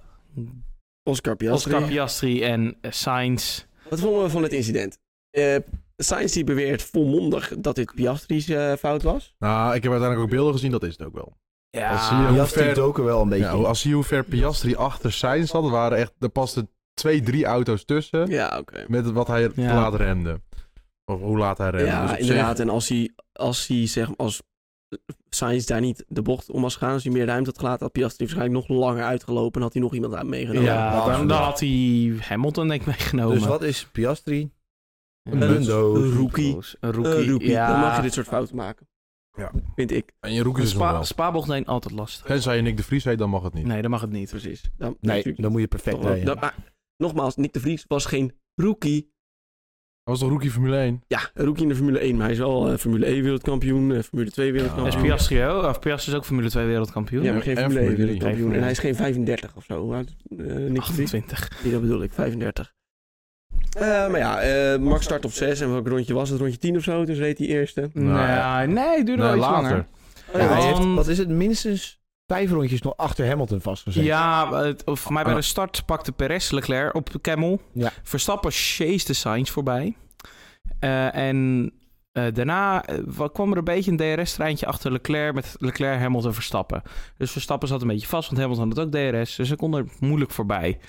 Speaker 1: Oscar Piastri.
Speaker 8: Oscar Piastri en eh, Sainz.
Speaker 1: Wat vonden we van het incident? Eh Sainz die beweert volmondig dat dit Piastri's eh, fout was.
Speaker 4: Nou, ik heb uiteindelijk ook beelden gezien, dat is het ook wel.
Speaker 8: Ja,
Speaker 4: Dat zie je ook.
Speaker 3: Piastri
Speaker 4: ver-
Speaker 3: doken wel een beetje.
Speaker 4: Ja, als je hoe ver Piastri achter zijn zat, er waren echt, er pasten twee, drie auto's tussen
Speaker 1: Ja, oké.
Speaker 4: met wat hij te
Speaker 8: Ja.
Speaker 4: laat remde. Of hoe laat hij remde. Dus
Speaker 1: Ja,
Speaker 4: op zich-
Speaker 1: inderdaad. En als hij, als hij zeg, als Sainz daar niet de bocht om was gegaan, als hij meer ruimte had gelaten, had Piastri waarschijnlijk nog langer uitgelopen en had hij nog iemand aan meegenomen.
Speaker 8: ja
Speaker 3: absoluut.
Speaker 8: dan, dan had hij Hamilton denk ik meegenomen.
Speaker 3: dus wat is Piastri?
Speaker 8: Een
Speaker 3: bundoos.
Speaker 1: Een rookie.
Speaker 8: Een rookie.
Speaker 1: Een rookie.
Speaker 8: Ja.
Speaker 1: Eh, Dan mag je dit soort fouten maken.
Speaker 4: Ja.
Speaker 1: Vind ik.
Speaker 4: En je roek is nog
Speaker 8: Spa,
Speaker 4: wel.
Speaker 8: spaarbocht neemt altijd lastig.
Speaker 4: Tenzij je Nick de Vries heet, dan mag het niet.
Speaker 8: Nee, dat mag het niet.
Speaker 1: Precies. Dan,
Speaker 3: Nee,
Speaker 1: natuurlijk
Speaker 3: dan moet je perfect
Speaker 1: toch wel-
Speaker 3: rijden.
Speaker 1: dat- maar nogmaals, Nick de Vries was geen rookie.
Speaker 4: Dat was toch rookie Formule 1?
Speaker 1: Ja, een rookie in de Formule 1, maar hij is wel eh, Formule 1 wereldkampioen, eh, Formule 2
Speaker 8: En
Speaker 1: wereldkampioen.
Speaker 8: is Piastri ook? Of Piastri is ook Formule 2 wereldkampioen.
Speaker 1: Ja, maar geen
Speaker 4: En
Speaker 1: Formule
Speaker 4: Formule
Speaker 1: 1
Speaker 4: drie.
Speaker 1: wereldkampioen. En hij is geen 35 of zo. Hoe oud- eh, Nick de Vries?
Speaker 8: 28.
Speaker 1: Nee, dat bedoel ik, 35. Eh, maar ja, eh, Max start op 6 en welk rondje was het? Rondje 10 of zo, dus reed hij eerste.
Speaker 8: Nee,
Speaker 4: Nou
Speaker 8: nee, het duurde wel iets langer.
Speaker 3: Ja, hij heeft,
Speaker 8: Want-
Speaker 3: wat is het, minstens vijf rondjes nog achter Hamilton vastgezet.
Speaker 8: Ja, het, of voor mij bij de start pakte Perez Leclerc op de Camel.
Speaker 3: Ja.
Speaker 8: Verstappen chase de Sainz voorbij. Eh, en eh, daarna eh, wa- kwam er een beetje een DRS-treintje achter Leclerc met Leclerc, Hamilton, Verstappen. Dus Verstappen zat een beetje vast, want Hamilton had ook DRS. Dus ze konden er moeilijk voorbij.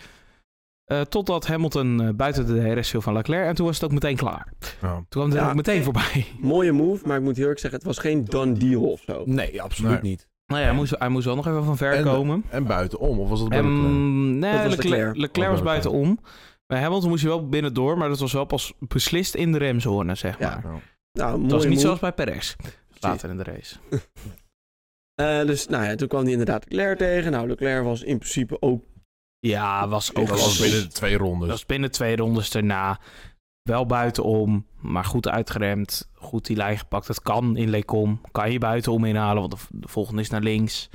Speaker 8: Eh, totdat Hamilton eh, buiten de DRS viel van Leclerc. En toen was het ook meteen klaar.
Speaker 4: Ja.
Speaker 8: Toen kwam het
Speaker 1: Ja.
Speaker 8: ook meteen voorbij.
Speaker 1: Mooie move, maar ik moet heel eerlijk zeggen, het was geen done deal of zo. Nou,
Speaker 3: Nee, absoluut
Speaker 4: Nee.
Speaker 3: niet.
Speaker 8: Nou ja, hij moest, hij moest wel nog even van ver
Speaker 4: En-
Speaker 8: komen.
Speaker 4: En buitenom, of was dat bij
Speaker 8: Ehm,
Speaker 4: Leclerc?
Speaker 8: nee,
Speaker 1: Dat was
Speaker 8: Leclerc,
Speaker 1: Leclerc.
Speaker 8: Leclerc, was
Speaker 4: Oh, Leclerc.
Speaker 8: buitenom. Bij Hamilton moest je wel binnendoor, maar dat was wel pas beslist in de remzone, zeg
Speaker 1: Ja,
Speaker 8: maar.
Speaker 4: Ja.
Speaker 1: Nou, mooie
Speaker 8: Het was niet
Speaker 1: move.
Speaker 8: zoals bij Perez, later in de race.
Speaker 1: Eh, dus nou ja, toen kwam hij inderdaad Leclerc tegen. Nou, Leclerc was in principe ook...
Speaker 8: Ja, was ook
Speaker 4: Dat
Speaker 1: was
Speaker 4: was
Speaker 8: was
Speaker 4: binnen twee rondes.
Speaker 8: Dat was binnen twee rondes daarna. Wel buitenom, maar goed uitgeremd. Goed die lijn gepakt. Dat kan in Lecom. Kan je buitenom inhalen, want de v- de volgende is naar links.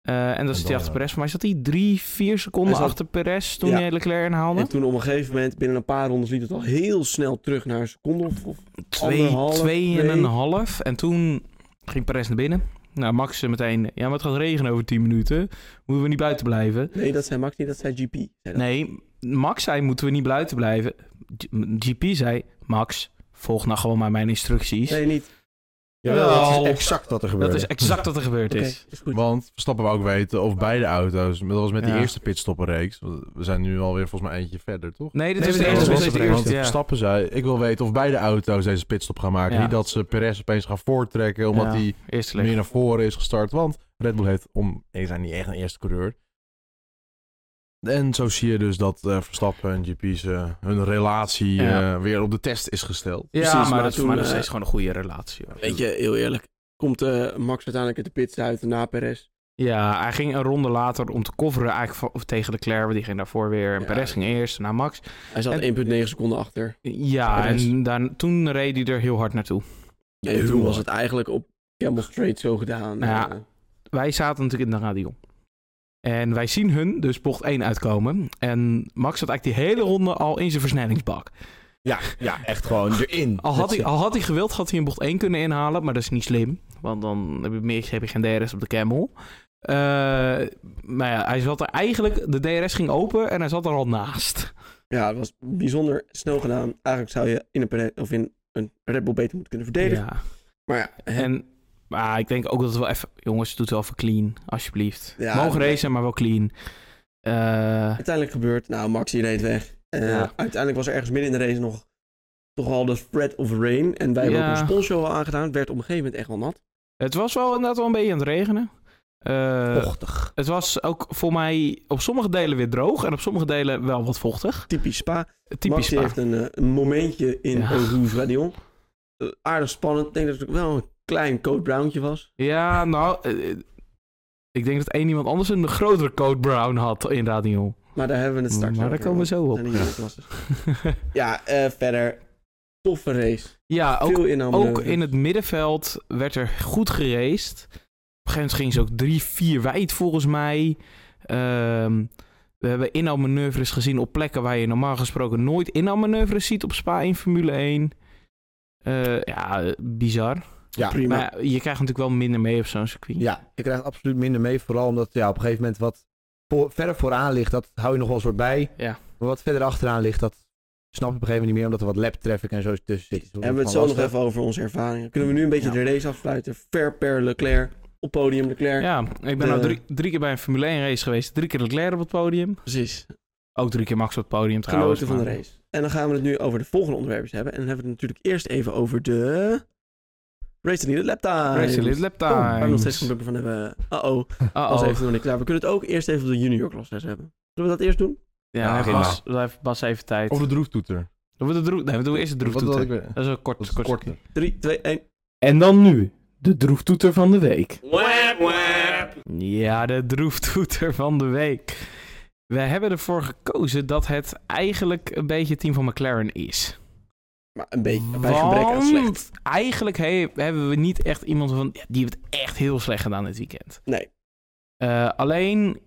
Speaker 8: Eh, en dat zit hij
Speaker 4: dan,
Speaker 8: achter
Speaker 4: ja.
Speaker 8: Perez. Maar zat hij drie, vier seconden
Speaker 1: Hij zat-
Speaker 8: achter Perez toen
Speaker 1: Ja.
Speaker 8: hij Leclerc inhaalde?
Speaker 1: En toen op een gegeven moment, binnen een paar rondes, liep het al heel snel terug naar een seconde of, of
Speaker 8: twee,
Speaker 1: Anderhalf,
Speaker 8: twee en
Speaker 1: twee.
Speaker 8: een half. En toen ging Perez naar binnen. Nou, Max zei meteen, ja, maar het gaat regenen over 10 minuten. Moeten we niet buiten blijven?
Speaker 1: Nee, dat zei Max niet, dat zei GP. Zei dat.
Speaker 8: Nee, Max zei, moeten we niet buiten blijven? G- GP zei, Max, volg nou gewoon maar mijn instructies.
Speaker 1: Nee, niet.
Speaker 3: Jawel, dat
Speaker 8: Wel.
Speaker 3: is exact wat er gebeurde.
Speaker 8: dat is exact wat er gebeurd
Speaker 1: Oké,
Speaker 8: is.
Speaker 1: is goed.
Speaker 4: Want Verstappen we ook weten of beide auto's. Dat was met
Speaker 8: Ja.
Speaker 4: die eerste pitstoppenreeks. We zijn nu alweer volgens mij eentje verder, toch?
Speaker 8: Nee, dit
Speaker 3: Nee,
Speaker 8: is
Speaker 3: dit
Speaker 8: de eerste.
Speaker 3: was
Speaker 8: dit is
Speaker 3: het
Speaker 8: de
Speaker 3: eerste.
Speaker 4: Want
Speaker 8: eerste, ja.
Speaker 4: Verstappen zei, ik wil weten of beide auto's deze pitstop gaan maken.
Speaker 8: Ja.
Speaker 4: Niet dat ze Perez opeens gaan voortrekken, omdat
Speaker 8: Ja,
Speaker 4: hij
Speaker 8: Eerste leg.
Speaker 4: meer naar voren is gestart. Want Red Bull heeft om, die zijn niet echt een eerste coureur. En zo zie je dus dat eh, Verstappen en GP's eh, hun relatie
Speaker 8: Ja.
Speaker 4: eh, weer op de test is gesteld.
Speaker 8: Ja,
Speaker 1: Precies,
Speaker 8: maar,
Speaker 1: maar
Speaker 8: dat,
Speaker 1: toen,
Speaker 8: maar dat is
Speaker 1: eh,
Speaker 8: steeds gewoon een goede relatie. hoor.
Speaker 1: Weet je, heel eerlijk. Komt eh, Max uiteindelijk uit de pits uit na Perez.
Speaker 8: Ja, hij ging een ronde later om te coveren eigenlijk van- of tegen Leclerc. want Die ging daarvoor weer. En
Speaker 1: Ja.
Speaker 8: Perez ging eerst naar Max.
Speaker 1: Hij zat 1,9 seconden achter.
Speaker 8: Ja,
Speaker 1: Perez.
Speaker 8: en daar, toen reed hij er heel hard naartoe.
Speaker 1: Ja, en toen was het eigenlijk op Campbell Strait zo gedaan.
Speaker 8: Nou ja.
Speaker 1: Eh,
Speaker 8: Wij zaten natuurlijk in de radio. En wij zien hun dus bocht 1 uitkomen. En Max zat eigenlijk die hele ronde al in zijn versnellingsbak.
Speaker 3: Ja, ja, echt gewoon erin.
Speaker 8: Al had,
Speaker 3: Dat
Speaker 8: hij,
Speaker 3: ze-
Speaker 8: al had hij gewild, had hij een bocht 1 kunnen inhalen, maar dat is niet slim. Want dan heb je, meer, heb je geen DRS op de camel. Eh, maar ja, hij zat er eigenlijk, de DRS ging open en hij zat er al naast.
Speaker 1: Ja, dat was bijzonder snel gedaan. Eigenlijk zou je in een, pene- of in een Red Bull beter moeten kunnen verdedigen.
Speaker 8: Ja.
Speaker 1: Maar ja, hè.
Speaker 8: En maar ik denk ook dat het wel even, jongens, doet wel even clean, alsjeblieft.
Speaker 1: Ja,
Speaker 8: Mogen
Speaker 1: dat-
Speaker 8: racen, maar wel clean. Eh,
Speaker 1: uiteindelijk gebeurt, nou, Max die reed weg. Eh,
Speaker 8: Ja.
Speaker 1: Uiteindelijk was er ergens midden in de race nog toch al de threat of rain. En wij hebben
Speaker 8: Ja.
Speaker 1: ook een sponsor al aangedaan. Het werd op een gegeven moment echt wel nat.
Speaker 8: het was wel inderdaad wel een beetje aan het regenen. Eh,
Speaker 3: Vochtig.
Speaker 8: het was ook voor mij op sommige delen weer droog en op sommige delen wel wat vochtig.
Speaker 1: Typisch Spa.
Speaker 8: Typisch.
Speaker 1: Max die
Speaker 8: Spa.
Speaker 1: heeft een, eh, een momentje in
Speaker 8: Ja.
Speaker 1: ja. Rouge-Radion. Eh, aardig spannend. Ik denk dat het ook wel een klein code brownje was.
Speaker 8: Ja, nou, eh, eh, ik denk dat één iemand anders een grotere code brown had in Radio.
Speaker 1: Maar daar hebben we het straks
Speaker 8: Maar daar
Speaker 1: over,
Speaker 8: komen we zo op.
Speaker 1: want zijn niet alle klassen. Ja, eh, verder. Toffe race.
Speaker 8: ja, ook,
Speaker 1: Veel inhammen.
Speaker 8: ook in het middenveld werd er goed geraced. Op een gegeven moment gingen ze ook drie, vier wijd volgens mij. Ehm, we hebben inhaalmanoeuvres gezien op plekken waar je normaal gesproken nooit inhaalmanoeuvres ziet op Spa in Formule 1. Eh, ja, eh, bizar.
Speaker 3: Ja.
Speaker 1: Prima.
Speaker 8: Maar ja, je krijgt natuurlijk wel minder mee op zo'n circuit.
Speaker 3: Ja, je krijgt absoluut minder mee. Vooral omdat ja, op een gegeven moment wat voor, verder vooraan ligt, dat hou je nog wel een soort bij.
Speaker 8: Ja.
Speaker 3: Maar wat verder achteraan ligt, dat snap je op een gegeven moment niet meer. Omdat er wat lap traffic en zo is tussen zit.
Speaker 1: Hebben we het zo nog even over onze ervaringen. Kunnen we nu een beetje de race afsluiten. Ver per Leclerc. Op podium Leclerc.
Speaker 8: Ja, ik ben nou
Speaker 1: De-
Speaker 8: drie, drie keer bij een Formule 1 race geweest. Drie keer Leclerc op het podium.
Speaker 1: Precies.
Speaker 8: Ook drie keer Max op het podium trouwens.
Speaker 1: Genoten van de
Speaker 8: maar-
Speaker 1: race. En dan gaan we het nu over de volgende onderwerpen hebben. En dan hebben we het natuurlijk eerst even over de... Race to Lead Laptime.
Speaker 8: Race Elite Lap Times.
Speaker 1: Oh, Waar
Speaker 8: Ah, oh.
Speaker 1: Ah, we nog steeds geen blubber van hebben. Uh-oh.
Speaker 8: Uh-oh.
Speaker 1: Als even nog niet klaar. We kunnen het ook eerst even op de junior klasses hebben. Zullen we dat eerst doen?
Speaker 8: Ja,
Speaker 4: Ja,
Speaker 8: heeft
Speaker 4: geen
Speaker 8: Bas, dan heeft Bas even tijd.
Speaker 4: Of de droeftoeter.
Speaker 8: Dan wordt het droef... Nee, we doen eerst de
Speaker 4: Wat- wat
Speaker 8: droeftoeter.
Speaker 4: ik weer-
Speaker 8: Dat is een kort,
Speaker 4: Dat is
Speaker 8: kort
Speaker 4: korter.
Speaker 8: stukje.
Speaker 1: 3, 2, 1.
Speaker 5: En dan nu, de droeftoeter van de week.
Speaker 8: Ja, de droeftoeter van de week. Wij hebben ervoor gekozen dat het eigenlijk een beetje het team van McLaren is.
Speaker 1: Maar een beetje bij gebrek aan slecht.
Speaker 8: Want eigenlijk he- hebben we niet echt iemand van... ja, Die heeft het echt heel slecht gedaan dit weekend.
Speaker 1: Nee.
Speaker 8: Eh, alleen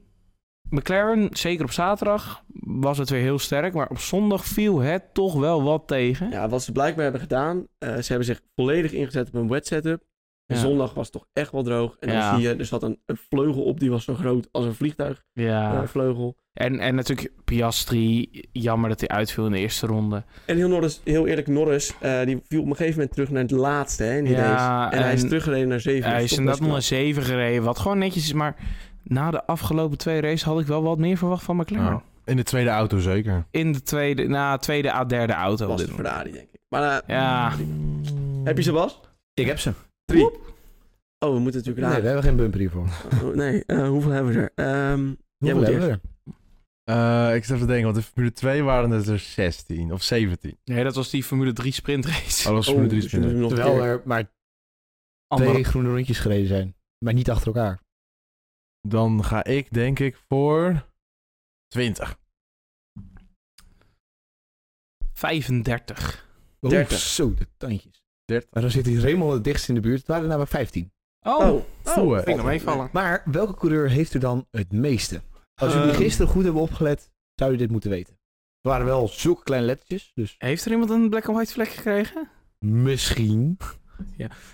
Speaker 8: McLaren, zeker op zaterdag, was het weer heel sterk. Maar op zondag viel het toch wel wat tegen.
Speaker 1: Ja, wat ze blijkbaar hebben gedaan, eh, ze hebben zich volledig ingezet op een wet setup. En
Speaker 8: Ja.
Speaker 1: zondag was het toch echt wel droog. En dan
Speaker 8: Ja.
Speaker 1: zie je, er zat een, een vleugel op die was zo groot als een vliegtuigvleugel.
Speaker 8: Ja.
Speaker 1: vleugel.
Speaker 8: En, en natuurlijk Piastri, jammer dat hij uitviel in de eerste ronde.
Speaker 1: En heel, Norris, heel eerlijk, Norris, eh, die viel op een gegeven moment terug naar het laatste hè, in die race.
Speaker 8: ja,
Speaker 1: En, hij is teruggereden naar 7.
Speaker 8: Hij is inderdaad nog een 7 gereden, wat gewoon netjes is. Maar na de afgelopen twee races had ik wel wat meer verwacht van McLaren.
Speaker 4: Ja. In de tweede auto zeker.
Speaker 8: In de tweede, na tweede à derde auto. op
Speaker 1: was
Speaker 8: dit
Speaker 1: het
Speaker 8: moment.
Speaker 1: Ferrari, denk ik. Maar eh,
Speaker 8: Ja.
Speaker 1: heb je ze, Bas?
Speaker 3: Ik heb ze.
Speaker 1: Drie. Oh, we moeten natuurlijk
Speaker 3: Nee, we
Speaker 1: raden.
Speaker 3: hebben geen bumper hiervoor.
Speaker 1: Oh, nee, eh, hoeveel hebben we er? Ehm,
Speaker 3: Hoeveel
Speaker 1: moet
Speaker 3: hebben we er?
Speaker 4: Eh, ik zat even te denken, want in Formule 2 waren het er 16 of 17.
Speaker 8: Nee, dat was die Formule 3 sprintrace.
Speaker 4: Oh, dat was Formule
Speaker 1: oh,
Speaker 4: 3
Speaker 1: dus we moeten
Speaker 4: sprinter.
Speaker 1: hem nog een
Speaker 3: Terwijl
Speaker 1: keer.
Speaker 3: er maar
Speaker 8: Andere-
Speaker 3: twee groene rondjes gereden zijn. Maar niet achter elkaar.
Speaker 4: Dan ga ik denk ik voor 20.
Speaker 8: 35.
Speaker 1: Dertig.
Speaker 3: Oh, Zo, de tandjes.
Speaker 4: Dertig.
Speaker 3: Maar dan zit hij helemaal het dichtst in de buurt. Het waren er namelijk 15. eh,
Speaker 8: Oh,
Speaker 1: Oh,
Speaker 4: Oeh,
Speaker 8: vind ik nog meevallen.
Speaker 3: Maar welke coureur heeft er dan het meeste? Als jullie
Speaker 1: Ehm.
Speaker 3: gisteren goed hebben opgelet, zou je dit moeten weten. Het waren wel zulke kleine lettertjes, dus
Speaker 8: Heeft er iemand een black and white vlek gekregen?
Speaker 3: misschien.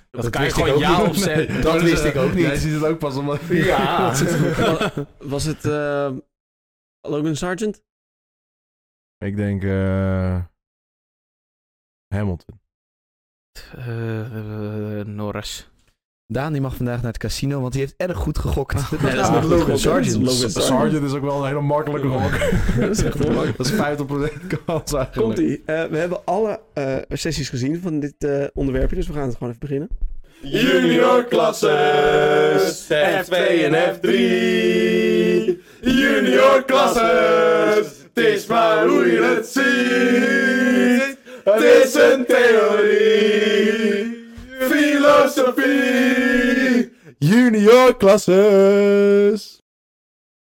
Speaker 8: Dat,
Speaker 3: Dat
Speaker 8: kan je
Speaker 3: wist ik
Speaker 8: gewoon
Speaker 3: ook
Speaker 8: ja
Speaker 3: niet.
Speaker 8: opzetten.
Speaker 3: Dat eh, wist ik ook
Speaker 4: Jij
Speaker 3: niet.
Speaker 4: ziet het ook pas omdat...
Speaker 3: Ja.
Speaker 1: Wa- was het eh, Logan Sargent?
Speaker 4: ik denk eh, Hamilton.
Speaker 8: Eh, eh, Norris.
Speaker 3: Daan die mag vandaag naar het casino, want die heeft erg goed gegokt. Dat
Speaker 1: Nee,
Speaker 3: was
Speaker 1: dat is
Speaker 3: namelijk
Speaker 1: niet goed
Speaker 3: Logan
Speaker 1: gegokt, dat is
Speaker 3: Sargent.
Speaker 1: Logan Sargent.
Speaker 4: Sargent is ook wel een hele makkelijke gok.
Speaker 1: Dat is echt heel makkelijk.
Speaker 4: Dat is 50% kans eigenlijk.
Speaker 1: Komt ie. we hebben alle eh, sessies gezien van dit eh, onderwerpje, dus we gaan het gewoon even beginnen.
Speaker 9: Junior klasses, F2 en F3. Junior klasses, het is maar hoe je het ziet. Het is een theorie, filosofie.
Speaker 4: Junior klasses!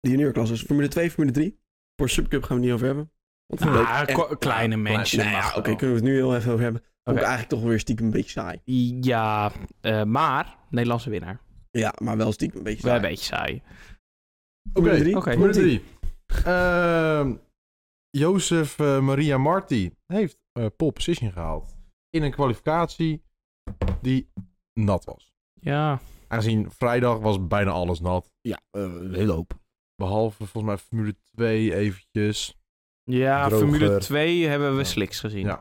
Speaker 1: De juniorklasses, Formule 2, Formule 3. Voor Subcup gaan we het niet over hebben. Want dat leek
Speaker 8: Ah,
Speaker 1: echt-
Speaker 8: ko- kleine mensen.
Speaker 1: Nou ja,
Speaker 8: mag
Speaker 1: oké,
Speaker 8: wel.
Speaker 1: kunnen we het nu heel even over hebben. Vond ik
Speaker 8: Oké.
Speaker 1: eigenlijk toch weer stiekem een beetje saai.
Speaker 8: Ja, eh, maar Nederlandse winnaar.
Speaker 1: Ja, maar wel stiekem een beetje
Speaker 8: Wel
Speaker 1: saai.
Speaker 8: een beetje saai.
Speaker 1: Formule
Speaker 4: Oké.
Speaker 1: 3.
Speaker 8: Oké.
Speaker 4: Nummer 3. Ehm Jozef eh, Maria Marti heeft eh pole position gehaald. In een kwalificatie die nat was.
Speaker 8: Ja,
Speaker 4: Aangezien vrijdag was bijna alles nat.
Speaker 3: Ja, eh, een hele hoop.
Speaker 4: Behalve volgens mij Formule 2 eventjes.
Speaker 8: ja
Speaker 3: Droger.
Speaker 8: Formule 2 hebben we
Speaker 4: Ja.
Speaker 8: sliks gezien.
Speaker 4: Ja.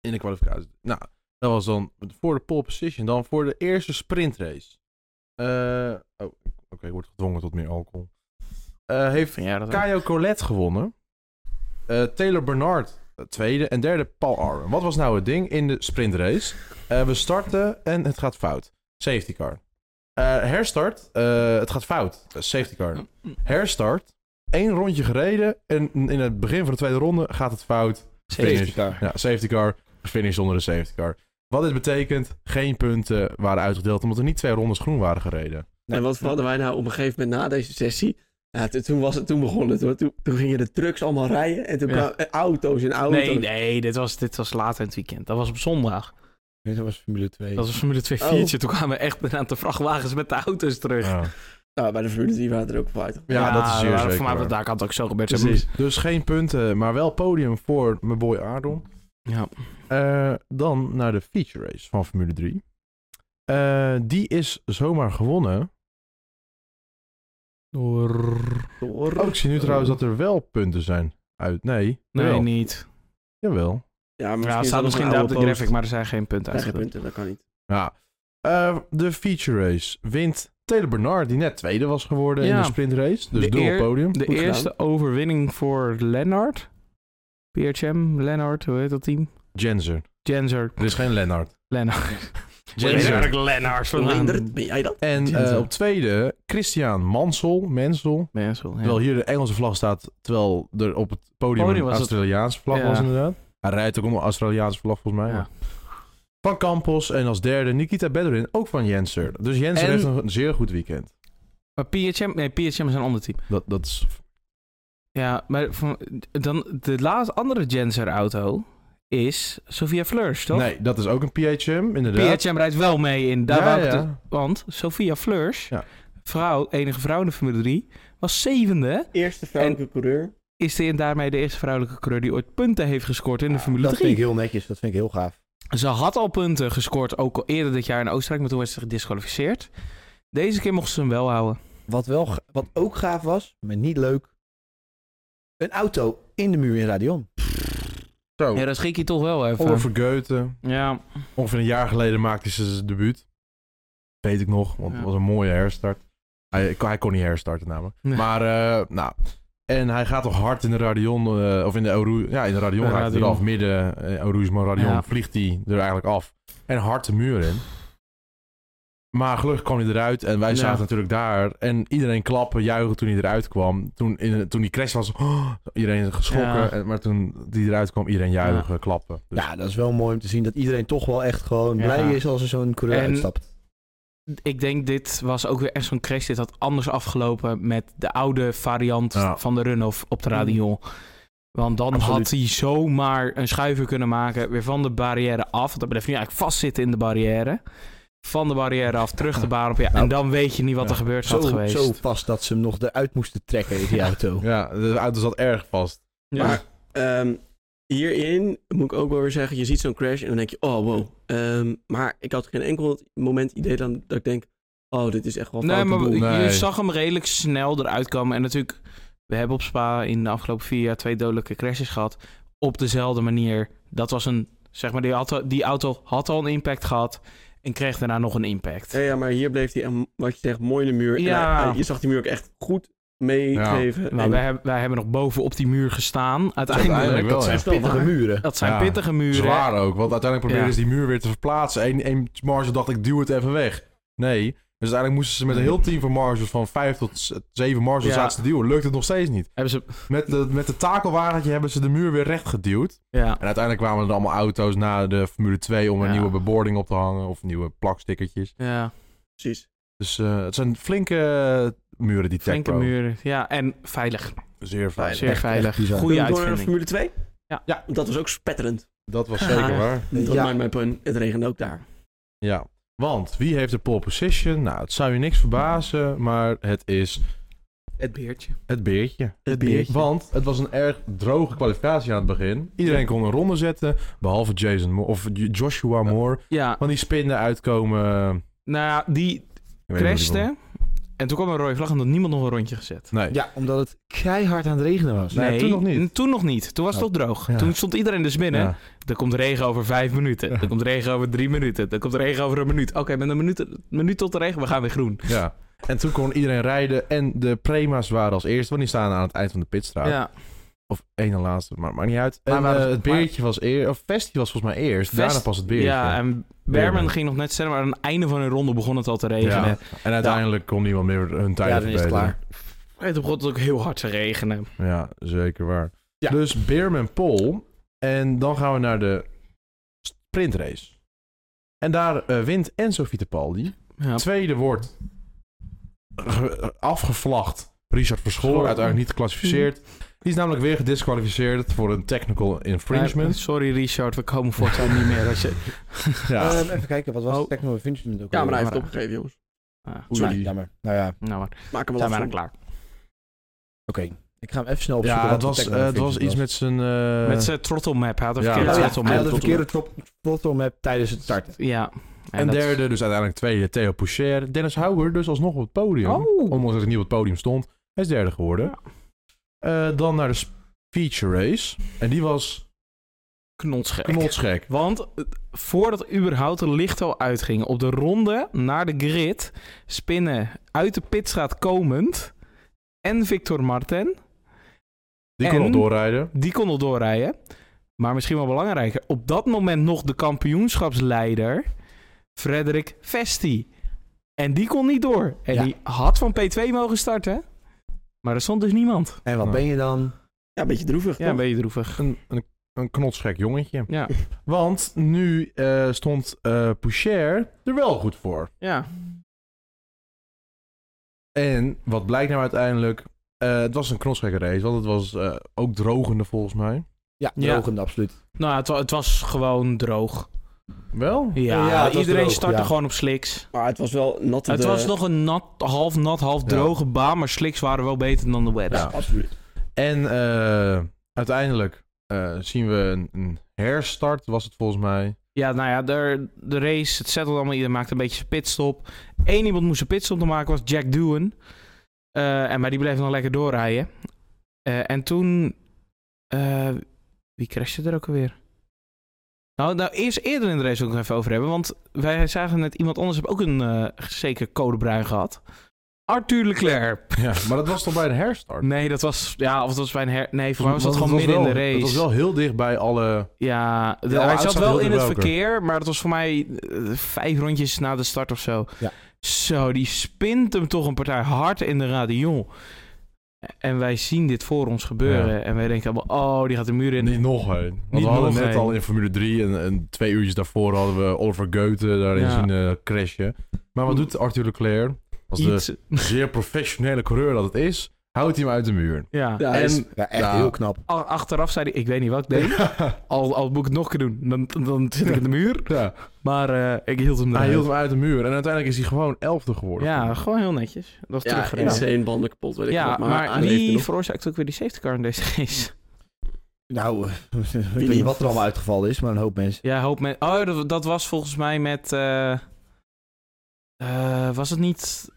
Speaker 4: In de kwalificatie. Nou, dat was dan voor de pole position. Dan voor de eerste sprintrace. Eh, oh, oké, ik word gedwongen tot meer alcohol. Eh, heeft
Speaker 8: Vind jij dat ook?
Speaker 4: Caio Colette gewonnen. Eh, Taylor Bernard eh, tweede en derde Paul Arwen. Wat was nou het ding in de sprintrace? Eh, we starten en het gaat fout. Safety car. Eh, herstart. eh, het gaat fout. Eh, Safety car. Herstart. Eén rondje gereden en in het begin van de tweede ronde gaat het fout. Finish. Ja, safety car. Finish zonder de safety car. Wat dit betekent, geen punten waren uitgedeeld omdat er niet twee rondes groen waren gereden.
Speaker 1: En wat hadden wij nou op een gegeven moment na deze sessie? Ja, t- toen, was het, toen begon het hoor. Toen, toen gingen de trucks allemaal rijden. En toen
Speaker 8: Ja.
Speaker 1: kwamen eh, auto's en auto's.
Speaker 8: Nee, nee, dit was, dit was later in het weekend. Dat was op zondag.
Speaker 10: Nee, dat was Formule 2.
Speaker 8: Dat was Formule 2
Speaker 1: Oh.
Speaker 8: viertje. Toen kwamen echt een aantal vrachtwagens met de auto's terug.
Speaker 4: Ja,
Speaker 1: Nou, bij de Formule 3 waren er ook fight.
Speaker 4: Ja, dat is zeer
Speaker 8: maar
Speaker 4: zeker
Speaker 8: Voor mij
Speaker 4: waar.
Speaker 8: was daar kan het ook zo gebeurd zijn.
Speaker 4: Precies. Dus geen punten, maar wel podium voor mijn boy Ardon.
Speaker 8: Ja.
Speaker 4: Eh, dan naar de feature race van Formule 3. Eh, die is zomaar gewonnen. Door...
Speaker 1: Door.
Speaker 4: Oh, ik zie nu trouwens dat er wel punten zijn uit. Nee,
Speaker 8: Nee,
Speaker 4: jawel.
Speaker 8: niet.
Speaker 4: Jawel.
Speaker 1: Ja, maar
Speaker 8: Ja, het
Speaker 1: is
Speaker 8: staat
Speaker 1: dat nog
Speaker 8: misschien
Speaker 1: een
Speaker 8: daar op
Speaker 1: oude
Speaker 8: de
Speaker 1: post.
Speaker 8: graphic, maar er zijn geen punten
Speaker 1: Ja, geen
Speaker 8: uitgedeeld.
Speaker 1: punten, dat kan niet.
Speaker 4: Ja. Eh, de feature race wint Taylor Bernard, die net tweede was geworden in
Speaker 8: Ja.
Speaker 4: de sprintrace. Dus
Speaker 8: De
Speaker 4: dubbel
Speaker 8: eer-
Speaker 4: podium.
Speaker 8: De
Speaker 1: Goed gedaan.
Speaker 8: eerste overwinning voor Lennart. PHM, Lennart, hoe heet dat team?
Speaker 4: Jensen.
Speaker 8: Jenser,
Speaker 4: Er is geen Lennart.
Speaker 8: Lennart.
Speaker 4: Jensen.
Speaker 8: Lennart.
Speaker 1: Leendert, ben jij dat?
Speaker 4: En eh,
Speaker 10: Jensen.
Speaker 4: op tweede, Christian Mansel. Mensel.
Speaker 8: Mensel, ja.
Speaker 4: Terwijl hier de Engelse vlag staat, terwijl er op het podium
Speaker 8: Podium
Speaker 4: een
Speaker 8: was het.
Speaker 4: Australiaanse vlag
Speaker 8: Ja.
Speaker 4: was inderdaad. Hij rijdt ook onder Australiaanse vlag volgens mij.
Speaker 8: Ja.
Speaker 4: maar- Van Campos en als derde Nikita Bedorin, ook van Jenser. Dus Jenser
Speaker 8: En-
Speaker 4: heeft een zeer goed weekend.
Speaker 8: Maar PHM, nee, PHM is een ander team.
Speaker 4: Dat, dat is...
Speaker 8: Ja, maar van, dan de laatste andere Jenser-auto is Sophia Fleurs, toch?
Speaker 4: Nee, dat is ook een PHM, inderdaad.
Speaker 8: PHM rijdt wel mee in. Daar
Speaker 4: Ja,
Speaker 8: wou ik
Speaker 4: ja.
Speaker 8: het- want Sophia Fleurs,
Speaker 4: Ja.
Speaker 8: vrouw, enige vrouw in de Formule 3, was zevende.
Speaker 1: Eerste vrouwelijke coureur.
Speaker 8: Is die en daarmee de eerste vrouwelijke coureur die ooit punten heeft gescoord in de Formule
Speaker 3: dat vind
Speaker 8: 3.
Speaker 3: ik heel netjes. Dat vind ik heel gaaf.
Speaker 8: Ze had al punten gescoord, ook al eerder dit jaar in Oostenrijk, maar toen werd ze gedisqualificeerd. Deze keer mocht ze hem wel houden.
Speaker 3: Wat, wel, ga- wat ook gaaf was, maar niet leuk. Een auto in de muur in Radion.
Speaker 4: Zo,
Speaker 8: Ja, dat schrik je toch wel even.
Speaker 4: Oliver Goethe.
Speaker 8: Ja,
Speaker 4: Ongeveer een jaar geleden maakte ze zijn debuut. Weet ik nog, want het
Speaker 8: Ja.
Speaker 4: was een mooie herstart. Hij, hij kon niet herstarten namelijk.
Speaker 8: Nee.
Speaker 4: Maar, eh, nou... En hij gaat toch hard in de Radion, eh, of in de Oru... Ja, in de Radion
Speaker 8: De
Speaker 4: raakt hij
Speaker 8: Radion.
Speaker 4: eraf. Midden uh, Oruismo Radion
Speaker 8: Ja.
Speaker 4: vliegt hij er eigenlijk af. En hard de muur in. Maar gelukkig kwam hij eruit en wij
Speaker 8: Ja.
Speaker 4: zaten natuurlijk daar. En iedereen klappen, juichen toen hij eruit kwam. Toen, in, toen die crash was, oh, iedereen geschrokken.
Speaker 8: Ja.
Speaker 4: En, maar toen die eruit kwam, iedereen juichen, klappen. Dus
Speaker 3: Ja, dat is wel mooi om te zien dat iedereen toch wel echt gewoon
Speaker 8: Ja.
Speaker 3: blij is als er zo'n coureur
Speaker 8: En-
Speaker 3: uitstapt.
Speaker 8: ik denk dit was ook weer echt zo'n crash. Dit had anders afgelopen met de oude variant
Speaker 4: Ja.
Speaker 8: van de run-off op de Radion. Want dan had hij zomaar een schuiver kunnen maken, weer van de barrière af. Want dat blijft nu eigenlijk vastzitten in de barrière. Van de barrière af, terug de baan op. Ja,
Speaker 3: Nou,
Speaker 8: en dan weet je niet wat er
Speaker 4: ja.
Speaker 8: gebeurd had
Speaker 3: Zo,
Speaker 8: geweest.
Speaker 3: zo vast dat ze hem nog eruit moesten trekken, die auto.
Speaker 4: ja, de auto zat erg vast.
Speaker 8: Ja.
Speaker 1: Maar ehm, hierin moet ik ook wel weer zeggen, je ziet zo'n crash en dan denk je, oh wow. Ehm, maar ik had geen enkel moment idee dan, dat ik denk, oh dit is echt wel
Speaker 8: Nee,
Speaker 1: foute
Speaker 8: maar
Speaker 1: boel.
Speaker 8: je
Speaker 4: Nee.
Speaker 8: zag hem redelijk snel eruit komen. En natuurlijk, we hebben op Spa in de afgelopen vier jaar twee dodelijke crashes gehad. Op dezelfde manier. Dat was een, zeg maar, die auto, die auto had al een impact gehad. En kreeg daarna nog een impact.
Speaker 1: Ja, ja, maar hier bleef hij, echt, wat je zegt, mooi in de muur. En
Speaker 8: Ja.
Speaker 1: hij- hij- je zag die muur ook echt goed meegeven.
Speaker 8: Nou,
Speaker 1: En-
Speaker 8: wij, hebben- wij hebben nog boven op die muur gestaan. Uiteindelijk.
Speaker 4: uiteindelijk wel,
Speaker 8: dat, zijn
Speaker 4: ja.
Speaker 3: Pittige
Speaker 8: pittige,
Speaker 3: muren.
Speaker 8: dat zijn
Speaker 4: Ja,
Speaker 8: pittige muren.
Speaker 4: Zwaar ook, want uiteindelijk probeerden
Speaker 8: Ja.
Speaker 4: ze die muur weer te verplaatsen. Eén één marge dacht ik, duw het even weg. Nee. Dus uiteindelijk moesten ze met een heel team van marges, van vijf tot z- zeven marges,
Speaker 8: Ja.
Speaker 4: zaten ze te duwen. Lukt het nog steeds niet.
Speaker 8: Hebben ze,
Speaker 4: Met de, met de takelwagentje hebben ze de muur weer recht geduwd.
Speaker 8: ja.
Speaker 4: En uiteindelijk kwamen er allemaal auto's na de Formule 2 om een
Speaker 8: Ja.
Speaker 4: nieuwe bebording op te hangen. Of nieuwe plakstickertjes.
Speaker 8: ja.
Speaker 1: Precies.
Speaker 4: Dus eh, het zijn flinke eh, muren, die
Speaker 8: Flinke
Speaker 4: Techpro.
Speaker 8: muren. Ja, en veilig.
Speaker 4: Zeer veilig.
Speaker 8: Zeer veilig.
Speaker 3: bizar.
Speaker 8: Goede
Speaker 1: Kunnen we door naar
Speaker 8: uitvinding.
Speaker 1: Formule 2?
Speaker 8: Ja.
Speaker 1: ja. Dat was ook spetterend.
Speaker 4: Dat was zeker
Speaker 8: Ja.
Speaker 4: waar.
Speaker 1: Dat
Speaker 3: Ja.
Speaker 1: maakt mijn punt. Het regende ook daar.
Speaker 4: Ja, want wie heeft de pole position? Nou, het zou je niks verbazen, maar het is
Speaker 8: Het beertje.
Speaker 4: Het beertje.
Speaker 1: Het beertje.
Speaker 4: Want het was een erg droge kwalificatie aan het begin. Iedereen kon een ronde zetten, behalve Jason Moore, of J- Joshua Moore.
Speaker 8: Ja,
Speaker 4: Want die spinde uitkomen... eh, ik
Speaker 8: nou ja, die
Speaker 4: weet niet wat die
Speaker 8: crashte. En toen kwam een rode vlag en had niemand nog een rondje gezet.
Speaker 4: vond. Nee.
Speaker 3: Ja, omdat het keihard aan het regenen was.
Speaker 4: Nee, toen nog niet.
Speaker 8: Toen nog niet. Toen was het
Speaker 4: Oh.
Speaker 8: nog droog.
Speaker 4: Ja.
Speaker 8: Toen stond iedereen dus binnen.
Speaker 4: Ja.
Speaker 8: Er komt regen over vijf minuten. Er komt regen over drie minuten. Er komt regen over een minuut. Oké, met een minuut, minuut tot de regen, we gaan weer groen.
Speaker 4: Ja. En toen kon iedereen rijden en de prema's waren als eerste, want die staan aan het eind van de pitstraat.
Speaker 8: Ja.
Speaker 4: Of één na laatste, maar maakt niet uit.
Speaker 3: Maar
Speaker 4: En,
Speaker 3: waren
Speaker 4: eh,
Speaker 3: ze-
Speaker 4: het beertje was eerst, of Festi was volgens mij eerst,
Speaker 8: Vest-
Speaker 4: daarna pas het beertje.
Speaker 8: Ja, en Berman
Speaker 4: Berman.
Speaker 8: ging nog net sneller, maar aan het einde van hun ronde begon het al te
Speaker 4: Ja.
Speaker 8: regenen.
Speaker 4: En uiteindelijk kon niemand meer hun tijd
Speaker 3: Ja, dan is het klaar.
Speaker 8: Het begon het ook heel hard te regenen.
Speaker 4: Ja, zeker waar.
Speaker 3: Ja.
Speaker 4: Dus Beerman Pol. En dan gaan we naar de sprintrace. En daar eh, wint Enzo Fittipaldi.
Speaker 8: Ja.
Speaker 4: Tweede wordt ge- afgevlacht Richard Verschoor.
Speaker 8: Schoor.
Speaker 4: Uiteindelijk niet geclassificeerd. Die is namelijk weer gedisqualificeerd voor een technical infringement.
Speaker 8: Eh, Sorry Richard, we komen voortaan niet meer. Als je...
Speaker 4: Ja.
Speaker 3: Ehm, even kijken, wat was
Speaker 8: Oh.
Speaker 3: het Techno Infringement ook
Speaker 1: Ja, maar hij
Speaker 3: alweer?
Speaker 1: heeft het opgegeven, jongens.
Speaker 8: Ah,
Speaker 3: Nou,
Speaker 4: Oei.
Speaker 3: jammer. Nou ja, oké.
Speaker 8: nou maar,
Speaker 1: Maak hem wel
Speaker 8: zijn we
Speaker 1: af.
Speaker 8: dan klaar.
Speaker 3: Ik ga hem even snel opzoeken.
Speaker 4: Ja,
Speaker 3: wat
Speaker 4: het
Speaker 3: de
Speaker 4: was,
Speaker 3: Techno
Speaker 4: eh, het was iets
Speaker 3: Infringement
Speaker 4: met zijn... eh,
Speaker 8: Met zijn trottelmap, hij had een
Speaker 4: ja.
Speaker 8: verkeerde
Speaker 3: was. Ja,
Speaker 8: trottelmap.
Speaker 3: hij had een verkeerde trop- trottelmap tijdens het starten.
Speaker 8: Ja.
Speaker 4: en
Speaker 8: dat-
Speaker 4: derde, dus uiteindelijk tweede, Theo Poucher. Dennis Houwer dus alsnog op het podium.
Speaker 8: Oh.
Speaker 4: Ondanks dat hij niet op het podium stond. Hij is derde geworden.
Speaker 8: Ja.
Speaker 4: Eh, dan naar de s- feature race. En die was
Speaker 8: Knotsgek.
Speaker 4: knotsgek.
Speaker 8: Want eh, voordat überhaupt het licht al uitging, op de ronde naar de grid, spinnen uit de pitstraat komend en Victor Marten,
Speaker 4: Die kon
Speaker 8: En?
Speaker 4: nog doorrijden.
Speaker 8: die kon nog doorrijden. Maar misschien wel belangrijker, op dat moment nog de kampioenschapsleider, Frederik Vesti. En die kon niet door. En
Speaker 3: Ja.
Speaker 8: die had van P2 mogen starten, maar er stond dus niemand.
Speaker 3: En wat
Speaker 4: Nou.
Speaker 3: ben je dan?
Speaker 1: Ja, een beetje droevig.
Speaker 8: Ja, een
Speaker 1: toch?
Speaker 8: beetje droevig.
Speaker 4: Een, een, een knotsgek jongetje.
Speaker 8: Ja,
Speaker 4: Want nu eh, stond eh Poucher er wel goed voor.
Speaker 8: ja.
Speaker 4: En wat blijkt nou uiteindelijk? Eh, het was een knotsgekke race, want het was eh, ook drogende volgens mij.
Speaker 3: Ja,
Speaker 8: Ja.
Speaker 3: drogende, absoluut.
Speaker 8: Nou, het, wa- het was gewoon droog.
Speaker 4: Wel?
Speaker 8: Ja,
Speaker 3: Ja, het was
Speaker 8: iedereen
Speaker 3: droog,
Speaker 8: startte
Speaker 3: ja.
Speaker 8: gewoon op sliks.
Speaker 1: Maar het was wel eh, natte...
Speaker 8: Het
Speaker 1: de-
Speaker 8: was nog een nat, half nat, half droge baan, maar sliks waren wel beter dan de wet.
Speaker 4: Ja.
Speaker 1: Absoluut.
Speaker 4: En eh, uiteindelijk eh, zien we een, een herstart, was het volgens mij.
Speaker 8: Ja, nou ja, de, de race, het settelde allemaal, iedereen maakte een beetje zijn pitstop. Eén iemand moest zijn pitstop te maken, was Jack Doohan. Eh, en maar die bleef nog lekker doorrijden. Eh, en toen, eh, wie crashte er ook alweer? Nou, nou, eerst eerder in de race wil ik nog even over hebben, want wij zagen net iemand anders heeft ook een eh, zeker codebruin gehad. Arthur Leclerc.
Speaker 4: Ja, maar dat was toch bij een herstart?
Speaker 8: Nee, dat was, ja, of dat was bij een her... Nee, voor mij was dat
Speaker 4: Want
Speaker 8: gewoon
Speaker 4: het
Speaker 8: midden in de
Speaker 4: wel-
Speaker 8: race.
Speaker 4: Het was wel heel dicht bij alle...
Speaker 8: Ja, de-
Speaker 4: Ja,
Speaker 8: hij
Speaker 4: uitslag
Speaker 8: zat wel
Speaker 4: hield
Speaker 8: in
Speaker 4: er
Speaker 8: het
Speaker 4: welke.
Speaker 8: verkeer, maar dat was voor mij eh, vijf rondjes na de start of zo.
Speaker 3: Ja.
Speaker 8: Zo, die spint hem toch een partij hard in de radion. En wij zien dit voor ons gebeuren. En wij denken allemaal, oh, die gaat de muur in.
Speaker 4: Niet nog heen. Want
Speaker 8: Niet
Speaker 4: we hadden
Speaker 8: nog
Speaker 4: net
Speaker 8: heen.
Speaker 4: al in Formule 3 en, en twee uurtjes daarvoor hadden we Oliver Goethe daarin
Speaker 8: Ja.
Speaker 4: zien eh, crashen. Maar wat doet Arthur Leclerc? Als de
Speaker 8: Iets-
Speaker 4: zeer professionele coureur dat het is, houdt hij hem uit de muur.
Speaker 8: ja.
Speaker 1: Ja,
Speaker 4: En-
Speaker 1: is-
Speaker 3: Ja, echt
Speaker 4: Ja.
Speaker 3: heel knap.
Speaker 8: Al- Achteraf zei hij, ik weet niet wat ik deed. Al, al moet ik het nog kunnen doen, dan, dan zit ik in de muur.
Speaker 4: ja,
Speaker 8: Maar eh, ik hield hem
Speaker 4: hij
Speaker 8: eruit.
Speaker 4: hield hem uit de muur en uiteindelijk is hij gewoon elfde geworden.
Speaker 8: Ja, gewoon heel netjes. Dat was
Speaker 1: ja,
Speaker 8: teruggereden.
Speaker 1: insane banden kapot, weet ik
Speaker 8: Ja,
Speaker 1: wat.
Speaker 8: maar,
Speaker 1: hij leeft er
Speaker 8: wie
Speaker 1: nog.
Speaker 8: veroorzaakt ook weer die safety car in deze race?
Speaker 3: Nou, eh, ik weet
Speaker 1: niet?
Speaker 3: niet wat er allemaal uitgevallen is, maar een hoop mensen.
Speaker 8: Ja, hoop men. Oh, dat, dat was volgens mij met. eh, eh, was het niet.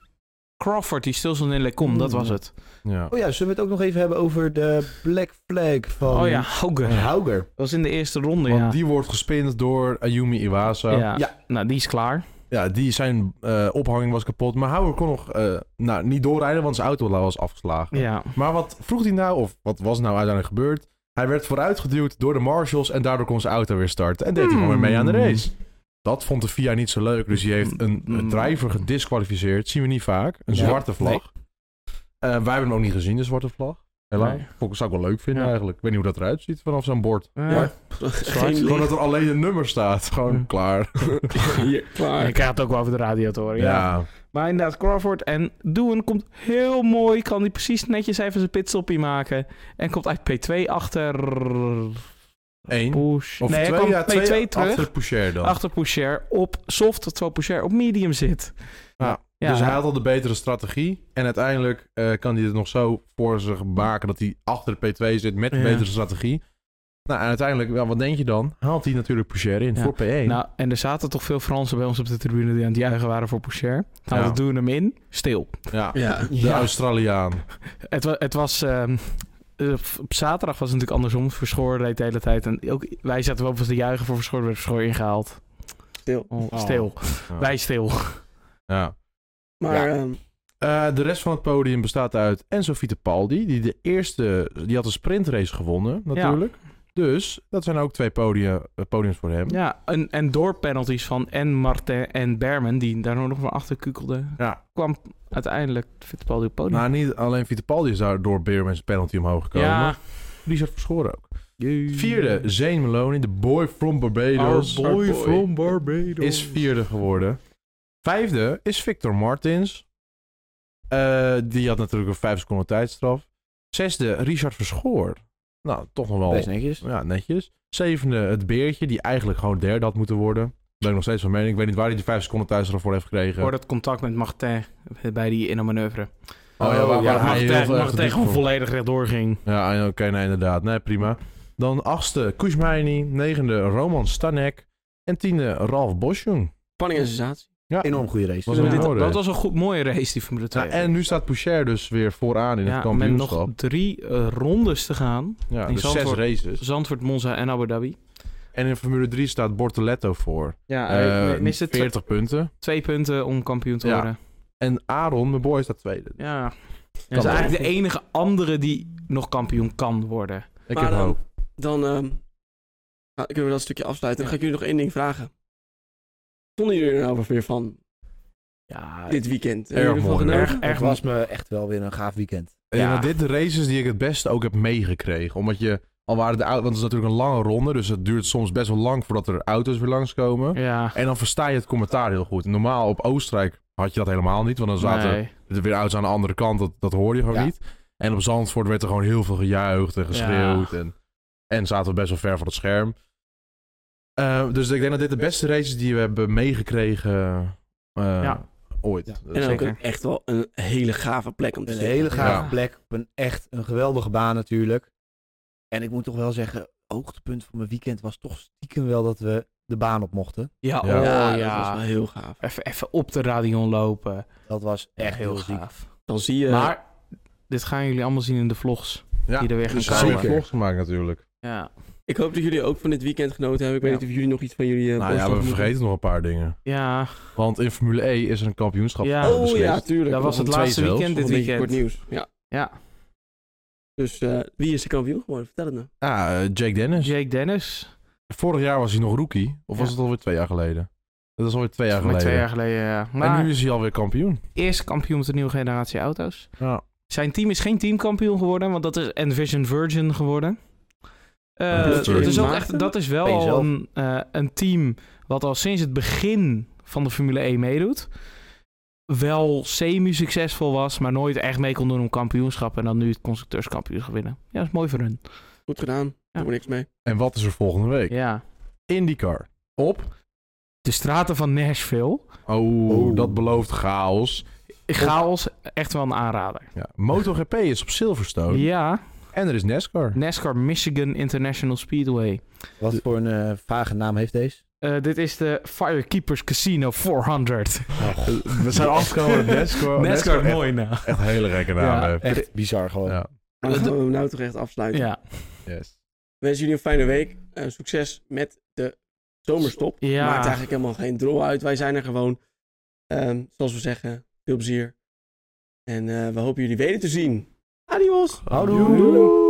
Speaker 8: Crawford die stilstond in Lecom, dat was het.
Speaker 4: Ja.
Speaker 3: Oh ja, zullen we het ook nog even hebben over de Black Flag van
Speaker 8: Oh ja, Hauger.
Speaker 3: van
Speaker 8: Dat
Speaker 3: Hauger?
Speaker 8: was in de eerste ronde,
Speaker 4: Hmm. Want
Speaker 8: ja.
Speaker 4: die wordt gespind door Ayumi Iwasa. Ja,
Speaker 8: ja.
Speaker 3: Ja.
Speaker 8: Nou, die is klaar.
Speaker 4: die zijn eh, ophanging was kapot. Maar Hauer kon nog eh, nou, niet doorrijden, want zijn auto was afgeslagen.
Speaker 8: Ja.
Speaker 4: Maar wat vroeg hij nou, of wat was nou uiteindelijk gebeurd? Hij werd vooruitgeduwd door de marshals en daardoor kon zijn auto weer starten. En deed hij gewoon weer mee aan
Speaker 8: Hmm.
Speaker 4: de race. Dat vond de FIA niet zo leuk, dus die heeft een,
Speaker 8: Hmm.
Speaker 4: een driver gedisqualificeerd. Zien we niet vaak. Een
Speaker 3: Ja.
Speaker 4: zwarte vlag. Eh, wij hebben hem ook niet gezien, de zwarte vlag. Helaas.
Speaker 8: Nee.
Speaker 4: Vond ik zou ik wel leuk vinden
Speaker 8: Ja.
Speaker 4: eigenlijk. Ik weet niet hoe dat eruit ziet vanaf zo'n bord.
Speaker 8: Eh,
Speaker 1: Ja. Geen
Speaker 4: Gewoon
Speaker 1: licht.
Speaker 4: dat er alleen een nummer staat. Gewoon
Speaker 8: Ja.
Speaker 4: klaar.
Speaker 1: Hier,
Speaker 8: en Ik
Speaker 1: klaar.
Speaker 8: krijg het ook wel over de radio te horen, ja.
Speaker 4: ja.
Speaker 8: Maar inderdaad, Crawford en Doen komt heel mooi. Kan hij precies netjes even zijn pitstoppie maken. En komt uit P2 achter...
Speaker 4: Eén.
Speaker 8: Push.
Speaker 4: Of
Speaker 8: nee,
Speaker 4: twee,
Speaker 8: hij kwam
Speaker 4: ja, twee,
Speaker 8: 2 terug. Achter,
Speaker 4: achter Poucher dan.
Speaker 8: Pusher op soft, terwijl Pusher op medium zit.
Speaker 4: Ja.
Speaker 8: Ja.
Speaker 4: Dus hij had al de betere strategie. En uiteindelijk eh, kan hij het nog zo voor zich maken dat hij achter de P2 zit met de
Speaker 8: Ja.
Speaker 4: betere strategie. Nou, en uiteindelijk, wel, wat denk je dan? Haalt hij natuurlijk Poucher in
Speaker 8: Ja.
Speaker 4: voor P1.
Speaker 8: Nou, en er zaten toch veel Fransen bij ons op de tribune die aan het juichen waren voor Pusher. Nou,
Speaker 4: Ja.
Speaker 8: dat doen hem in. Stil.
Speaker 4: ja.
Speaker 1: Ja.
Speaker 4: De Australiaan.
Speaker 8: Het, wa- het was... ehm, eh, f- op zaterdag was het natuurlijk andersom. Verschoor reed de hele tijd. En ook, wij zaten wel op de juichen voor Verschoor. werd Verschoor ingehaald.
Speaker 1: Stil.
Speaker 8: Oh, Stil.
Speaker 4: Ja.
Speaker 8: Wij stil.
Speaker 4: Ja.
Speaker 1: Maar ehm,
Speaker 4: Eh, de rest van het podium bestaat uit Enzo Fittipaldi, die de eerste, die had een sprintrace gewonnen natuurlijk. Dus dat zijn ook twee podia, eh, podiums voor hem.
Speaker 8: Ja, en, en door penalties van en Martin en Berman, die daar nog maar achter kukelden,
Speaker 4: Ja.
Speaker 8: kwam uiteindelijk Fittipaldi op het podium.
Speaker 4: Nou, niet alleen Fittipaldi is daar door Beerman's penalty omhoog gekomen.
Speaker 8: ja,
Speaker 4: Die zat verschoren ook. Vierde, Zane Maloney, de boy from Barbados,
Speaker 8: Our boy from
Speaker 4: Barbados, is vierde geworden. Vijfde is Victor Martins. Eh, die had natuurlijk een vijf seconden tijdstraf. Zesde, Richard Verschoor. Nou, toch nog wel
Speaker 3: Wees netjes.
Speaker 4: Ja, netjes. Zevende, het beertje, die eigenlijk gewoon derde had moeten worden. Ben ik nog steeds van mening. Ik weet niet waar hij die vijf seconden thuis voor heeft gekregen.
Speaker 8: voor dat contact met Martin bij die in een manoeuvre.
Speaker 4: Oh ja, waar- waar hij heel
Speaker 8: Martin,
Speaker 4: veel echt
Speaker 8: Martin
Speaker 4: diep
Speaker 8: gewoon
Speaker 4: voor-
Speaker 8: volledig rechtdoor ging.
Speaker 4: Ja, ah, oké, nee, inderdaad. Nee, prima. Dan achtste, Kushmeini. Negende, Roman Stanek. En tiende, Ralf Bosjong.
Speaker 1: spanning en sensatie.
Speaker 4: Ja,
Speaker 3: Enorm goede race.
Speaker 4: was
Speaker 8: Ja,
Speaker 4: een
Speaker 8: dit-
Speaker 4: mooi
Speaker 8: dat
Speaker 4: race.
Speaker 8: was een goed, mooie race die Formule 2.
Speaker 4: Ja, Ah, en nu staat Poucher dus weer vooraan in het
Speaker 8: Ja, met nog
Speaker 4: kampioenschap.
Speaker 8: drie eh, rondes te gaan.
Speaker 4: Ja,
Speaker 8: in
Speaker 4: dus zes
Speaker 8: Zandvoort-
Speaker 4: races.
Speaker 8: Zandvoort, Monza en Abu Dhabi.
Speaker 4: En in Formule 3 staat Bortoletto voor.
Speaker 8: Ja,
Speaker 4: Eh,
Speaker 8: hij miste tw-
Speaker 4: 40 punten.
Speaker 8: twee punten om kampioen te
Speaker 4: Ja.
Speaker 8: worden.
Speaker 4: En Aaron, mijn boy, staat tweede.
Speaker 8: Ja. Hij is
Speaker 4: wel.
Speaker 8: eigenlijk de enige andere die nog kampioen kan worden.
Speaker 4: Ik
Speaker 1: Maar
Speaker 4: heb
Speaker 1: dan-
Speaker 4: hoop.
Speaker 1: Dan ehm, nou, kunnen we dat stukje afsluiten. Dan ga ik jullie nog één ding vragen. Vonden jullie er nou wat weer van
Speaker 8: Ja,
Speaker 1: dit weekend?
Speaker 4: erg
Speaker 1: Hebben jullie ervan
Speaker 4: mooi,
Speaker 1: genoten?
Speaker 8: erg,
Speaker 3: Het
Speaker 8: erg
Speaker 3: was me echt wel weer een gaaf weekend.
Speaker 4: Ik denk dat dit de races die ik het beste ook heb meegekregen. Omdat je, al waren de auto's, want het is natuurlijk een lange ronde, dus het duurt soms best wel lang voordat er auto's weer langskomen.
Speaker 8: Ja.
Speaker 4: En dan versta je het commentaar heel goed. Normaal op Oostenrijk had je dat helemaal niet, want dan zaten
Speaker 8: nee.
Speaker 4: er weer auto's aan de andere kant, dat, dat hoorde je gewoon
Speaker 3: Ja.
Speaker 4: niet. En op Zandvoort werd er gewoon heel veel gejuicht en geschreeuwd en, en zaten we best wel ver van het scherm. Eh, dus ik denk dat dit de beste races die we hebben meegekregen eh,
Speaker 8: Ja.
Speaker 4: ooit.
Speaker 3: Ja.
Speaker 4: Dus-
Speaker 1: En ook
Speaker 8: Zeker.
Speaker 1: een- echt wel een hele gave plek om te
Speaker 3: Een
Speaker 1: zitten.
Speaker 3: hele gave
Speaker 4: Ja.
Speaker 3: plek. Op een echt een geweldige baan natuurlijk. En ik moet toch wel zeggen, hoogtepunt van mijn weekend was toch stiekem wel dat we de baan op mochten.
Speaker 8: Ja,
Speaker 4: Ja.
Speaker 8: oh
Speaker 1: Ja,
Speaker 8: ja.
Speaker 1: dat was wel heel gaaf.
Speaker 8: Even, even op de radion lopen.
Speaker 3: Dat was echt heel, ziek.
Speaker 8: gaaf.
Speaker 1: Dan zie je...
Speaker 8: Maar dit gaan jullie allemaal zien in de vlogs.
Speaker 4: Ja,
Speaker 8: die er weer gaan
Speaker 4: dus
Speaker 8: komen.
Speaker 4: we hebben vlogs gemaakt natuurlijk.
Speaker 8: Ja,
Speaker 1: Ik hoop dat jullie ook van dit weekend genoten hebben. Ik weet
Speaker 8: Ja.
Speaker 1: niet of jullie nog iets van jullie... eh,
Speaker 4: Nou ja,
Speaker 1: boodschap
Speaker 4: we
Speaker 1: moeten-
Speaker 4: vergeten nog een paar dingen.
Speaker 8: ja
Speaker 4: Want in Formule E is er een kampioenschap
Speaker 8: Ja.
Speaker 4: eh,
Speaker 1: Oh
Speaker 4: beslist.
Speaker 1: ja, tuurlijk.
Speaker 8: dat was het
Speaker 4: een twee
Speaker 8: laatste
Speaker 4: zelfs,
Speaker 8: weekend dit
Speaker 1: Nog een beetje
Speaker 8: weekend.
Speaker 1: kort nieuws. Ja.
Speaker 8: Ja,
Speaker 1: Dus eh, wie is de kampioen geworden? Vertel het nou.
Speaker 4: Ah, eh, Jake Dennis.
Speaker 8: Jake Dennis.
Speaker 4: Vorig jaar was hij nog rookie. Of was
Speaker 8: Ja.
Speaker 4: het alweer twee jaar geleden? Dat is alweer twee jaar
Speaker 8: Maar
Speaker 4: geleden.
Speaker 8: twee jaar geleden, ja.
Speaker 4: En
Speaker 8: Maar
Speaker 4: nu is hij alweer kampioen.
Speaker 8: eerst kampioen met de nieuwe generatie auto's.
Speaker 4: Ja.
Speaker 8: Zijn team is geen teamkampioen geworden, want dat is Envision Virgin geworden. Eh,
Speaker 4: Dat is
Speaker 8: het is ook
Speaker 1: Maarten?
Speaker 8: echt, dat is wel
Speaker 3: Ben je
Speaker 8: al
Speaker 3: zelf?
Speaker 8: een, eh, een team wat al sinds het begin van de Formule 1 meedoet. Wel semi-succesvol was, maar nooit echt mee kon doen om kampioenschap. En dan nu het constructeurskampioenschap winnen. Ja, dat is mooi voor hun.
Speaker 1: Goed gedaan. Doe er niks mee.
Speaker 4: En wat is er volgende week?
Speaker 8: Ja.
Speaker 4: IndyCar. Op.
Speaker 8: De straten van Nashville.
Speaker 4: Oh, dat belooft chaos.
Speaker 8: Chaos, echt wel een aanrader.
Speaker 4: Ja. MotoGP is op Silverstone.
Speaker 8: Ja,
Speaker 4: En er is NASCAR.
Speaker 8: NASCAR Michigan International Speedway.
Speaker 3: Wat voor een eh, vage naam heeft deze?
Speaker 8: Eh, dit is de Firekeepers Casino
Speaker 4: Oh,
Speaker 8: 400.
Speaker 4: We zijn afgekomen op NASCAR.
Speaker 8: NASCAR,
Speaker 4: echt-
Speaker 8: mooi naam.
Speaker 4: Echt een hele gekke naam.
Speaker 8: Ja.
Speaker 4: heeft.
Speaker 3: Echt bizar gewoon.
Speaker 4: Ja.
Speaker 1: Maar dan gaan we hem nou toch echt afsluiten.
Speaker 8: Ja.
Speaker 4: Yes.
Speaker 1: We wensen jullie een fijne week. Eh, succes met de zomerstop.
Speaker 8: Ja.
Speaker 1: Maakt eigenlijk helemaal geen drol uit. Wij zijn er gewoon. Ehm, zoals we zeggen, veel plezier. En eh, we hopen jullie weder te zien. Adios.
Speaker 4: Houdoe.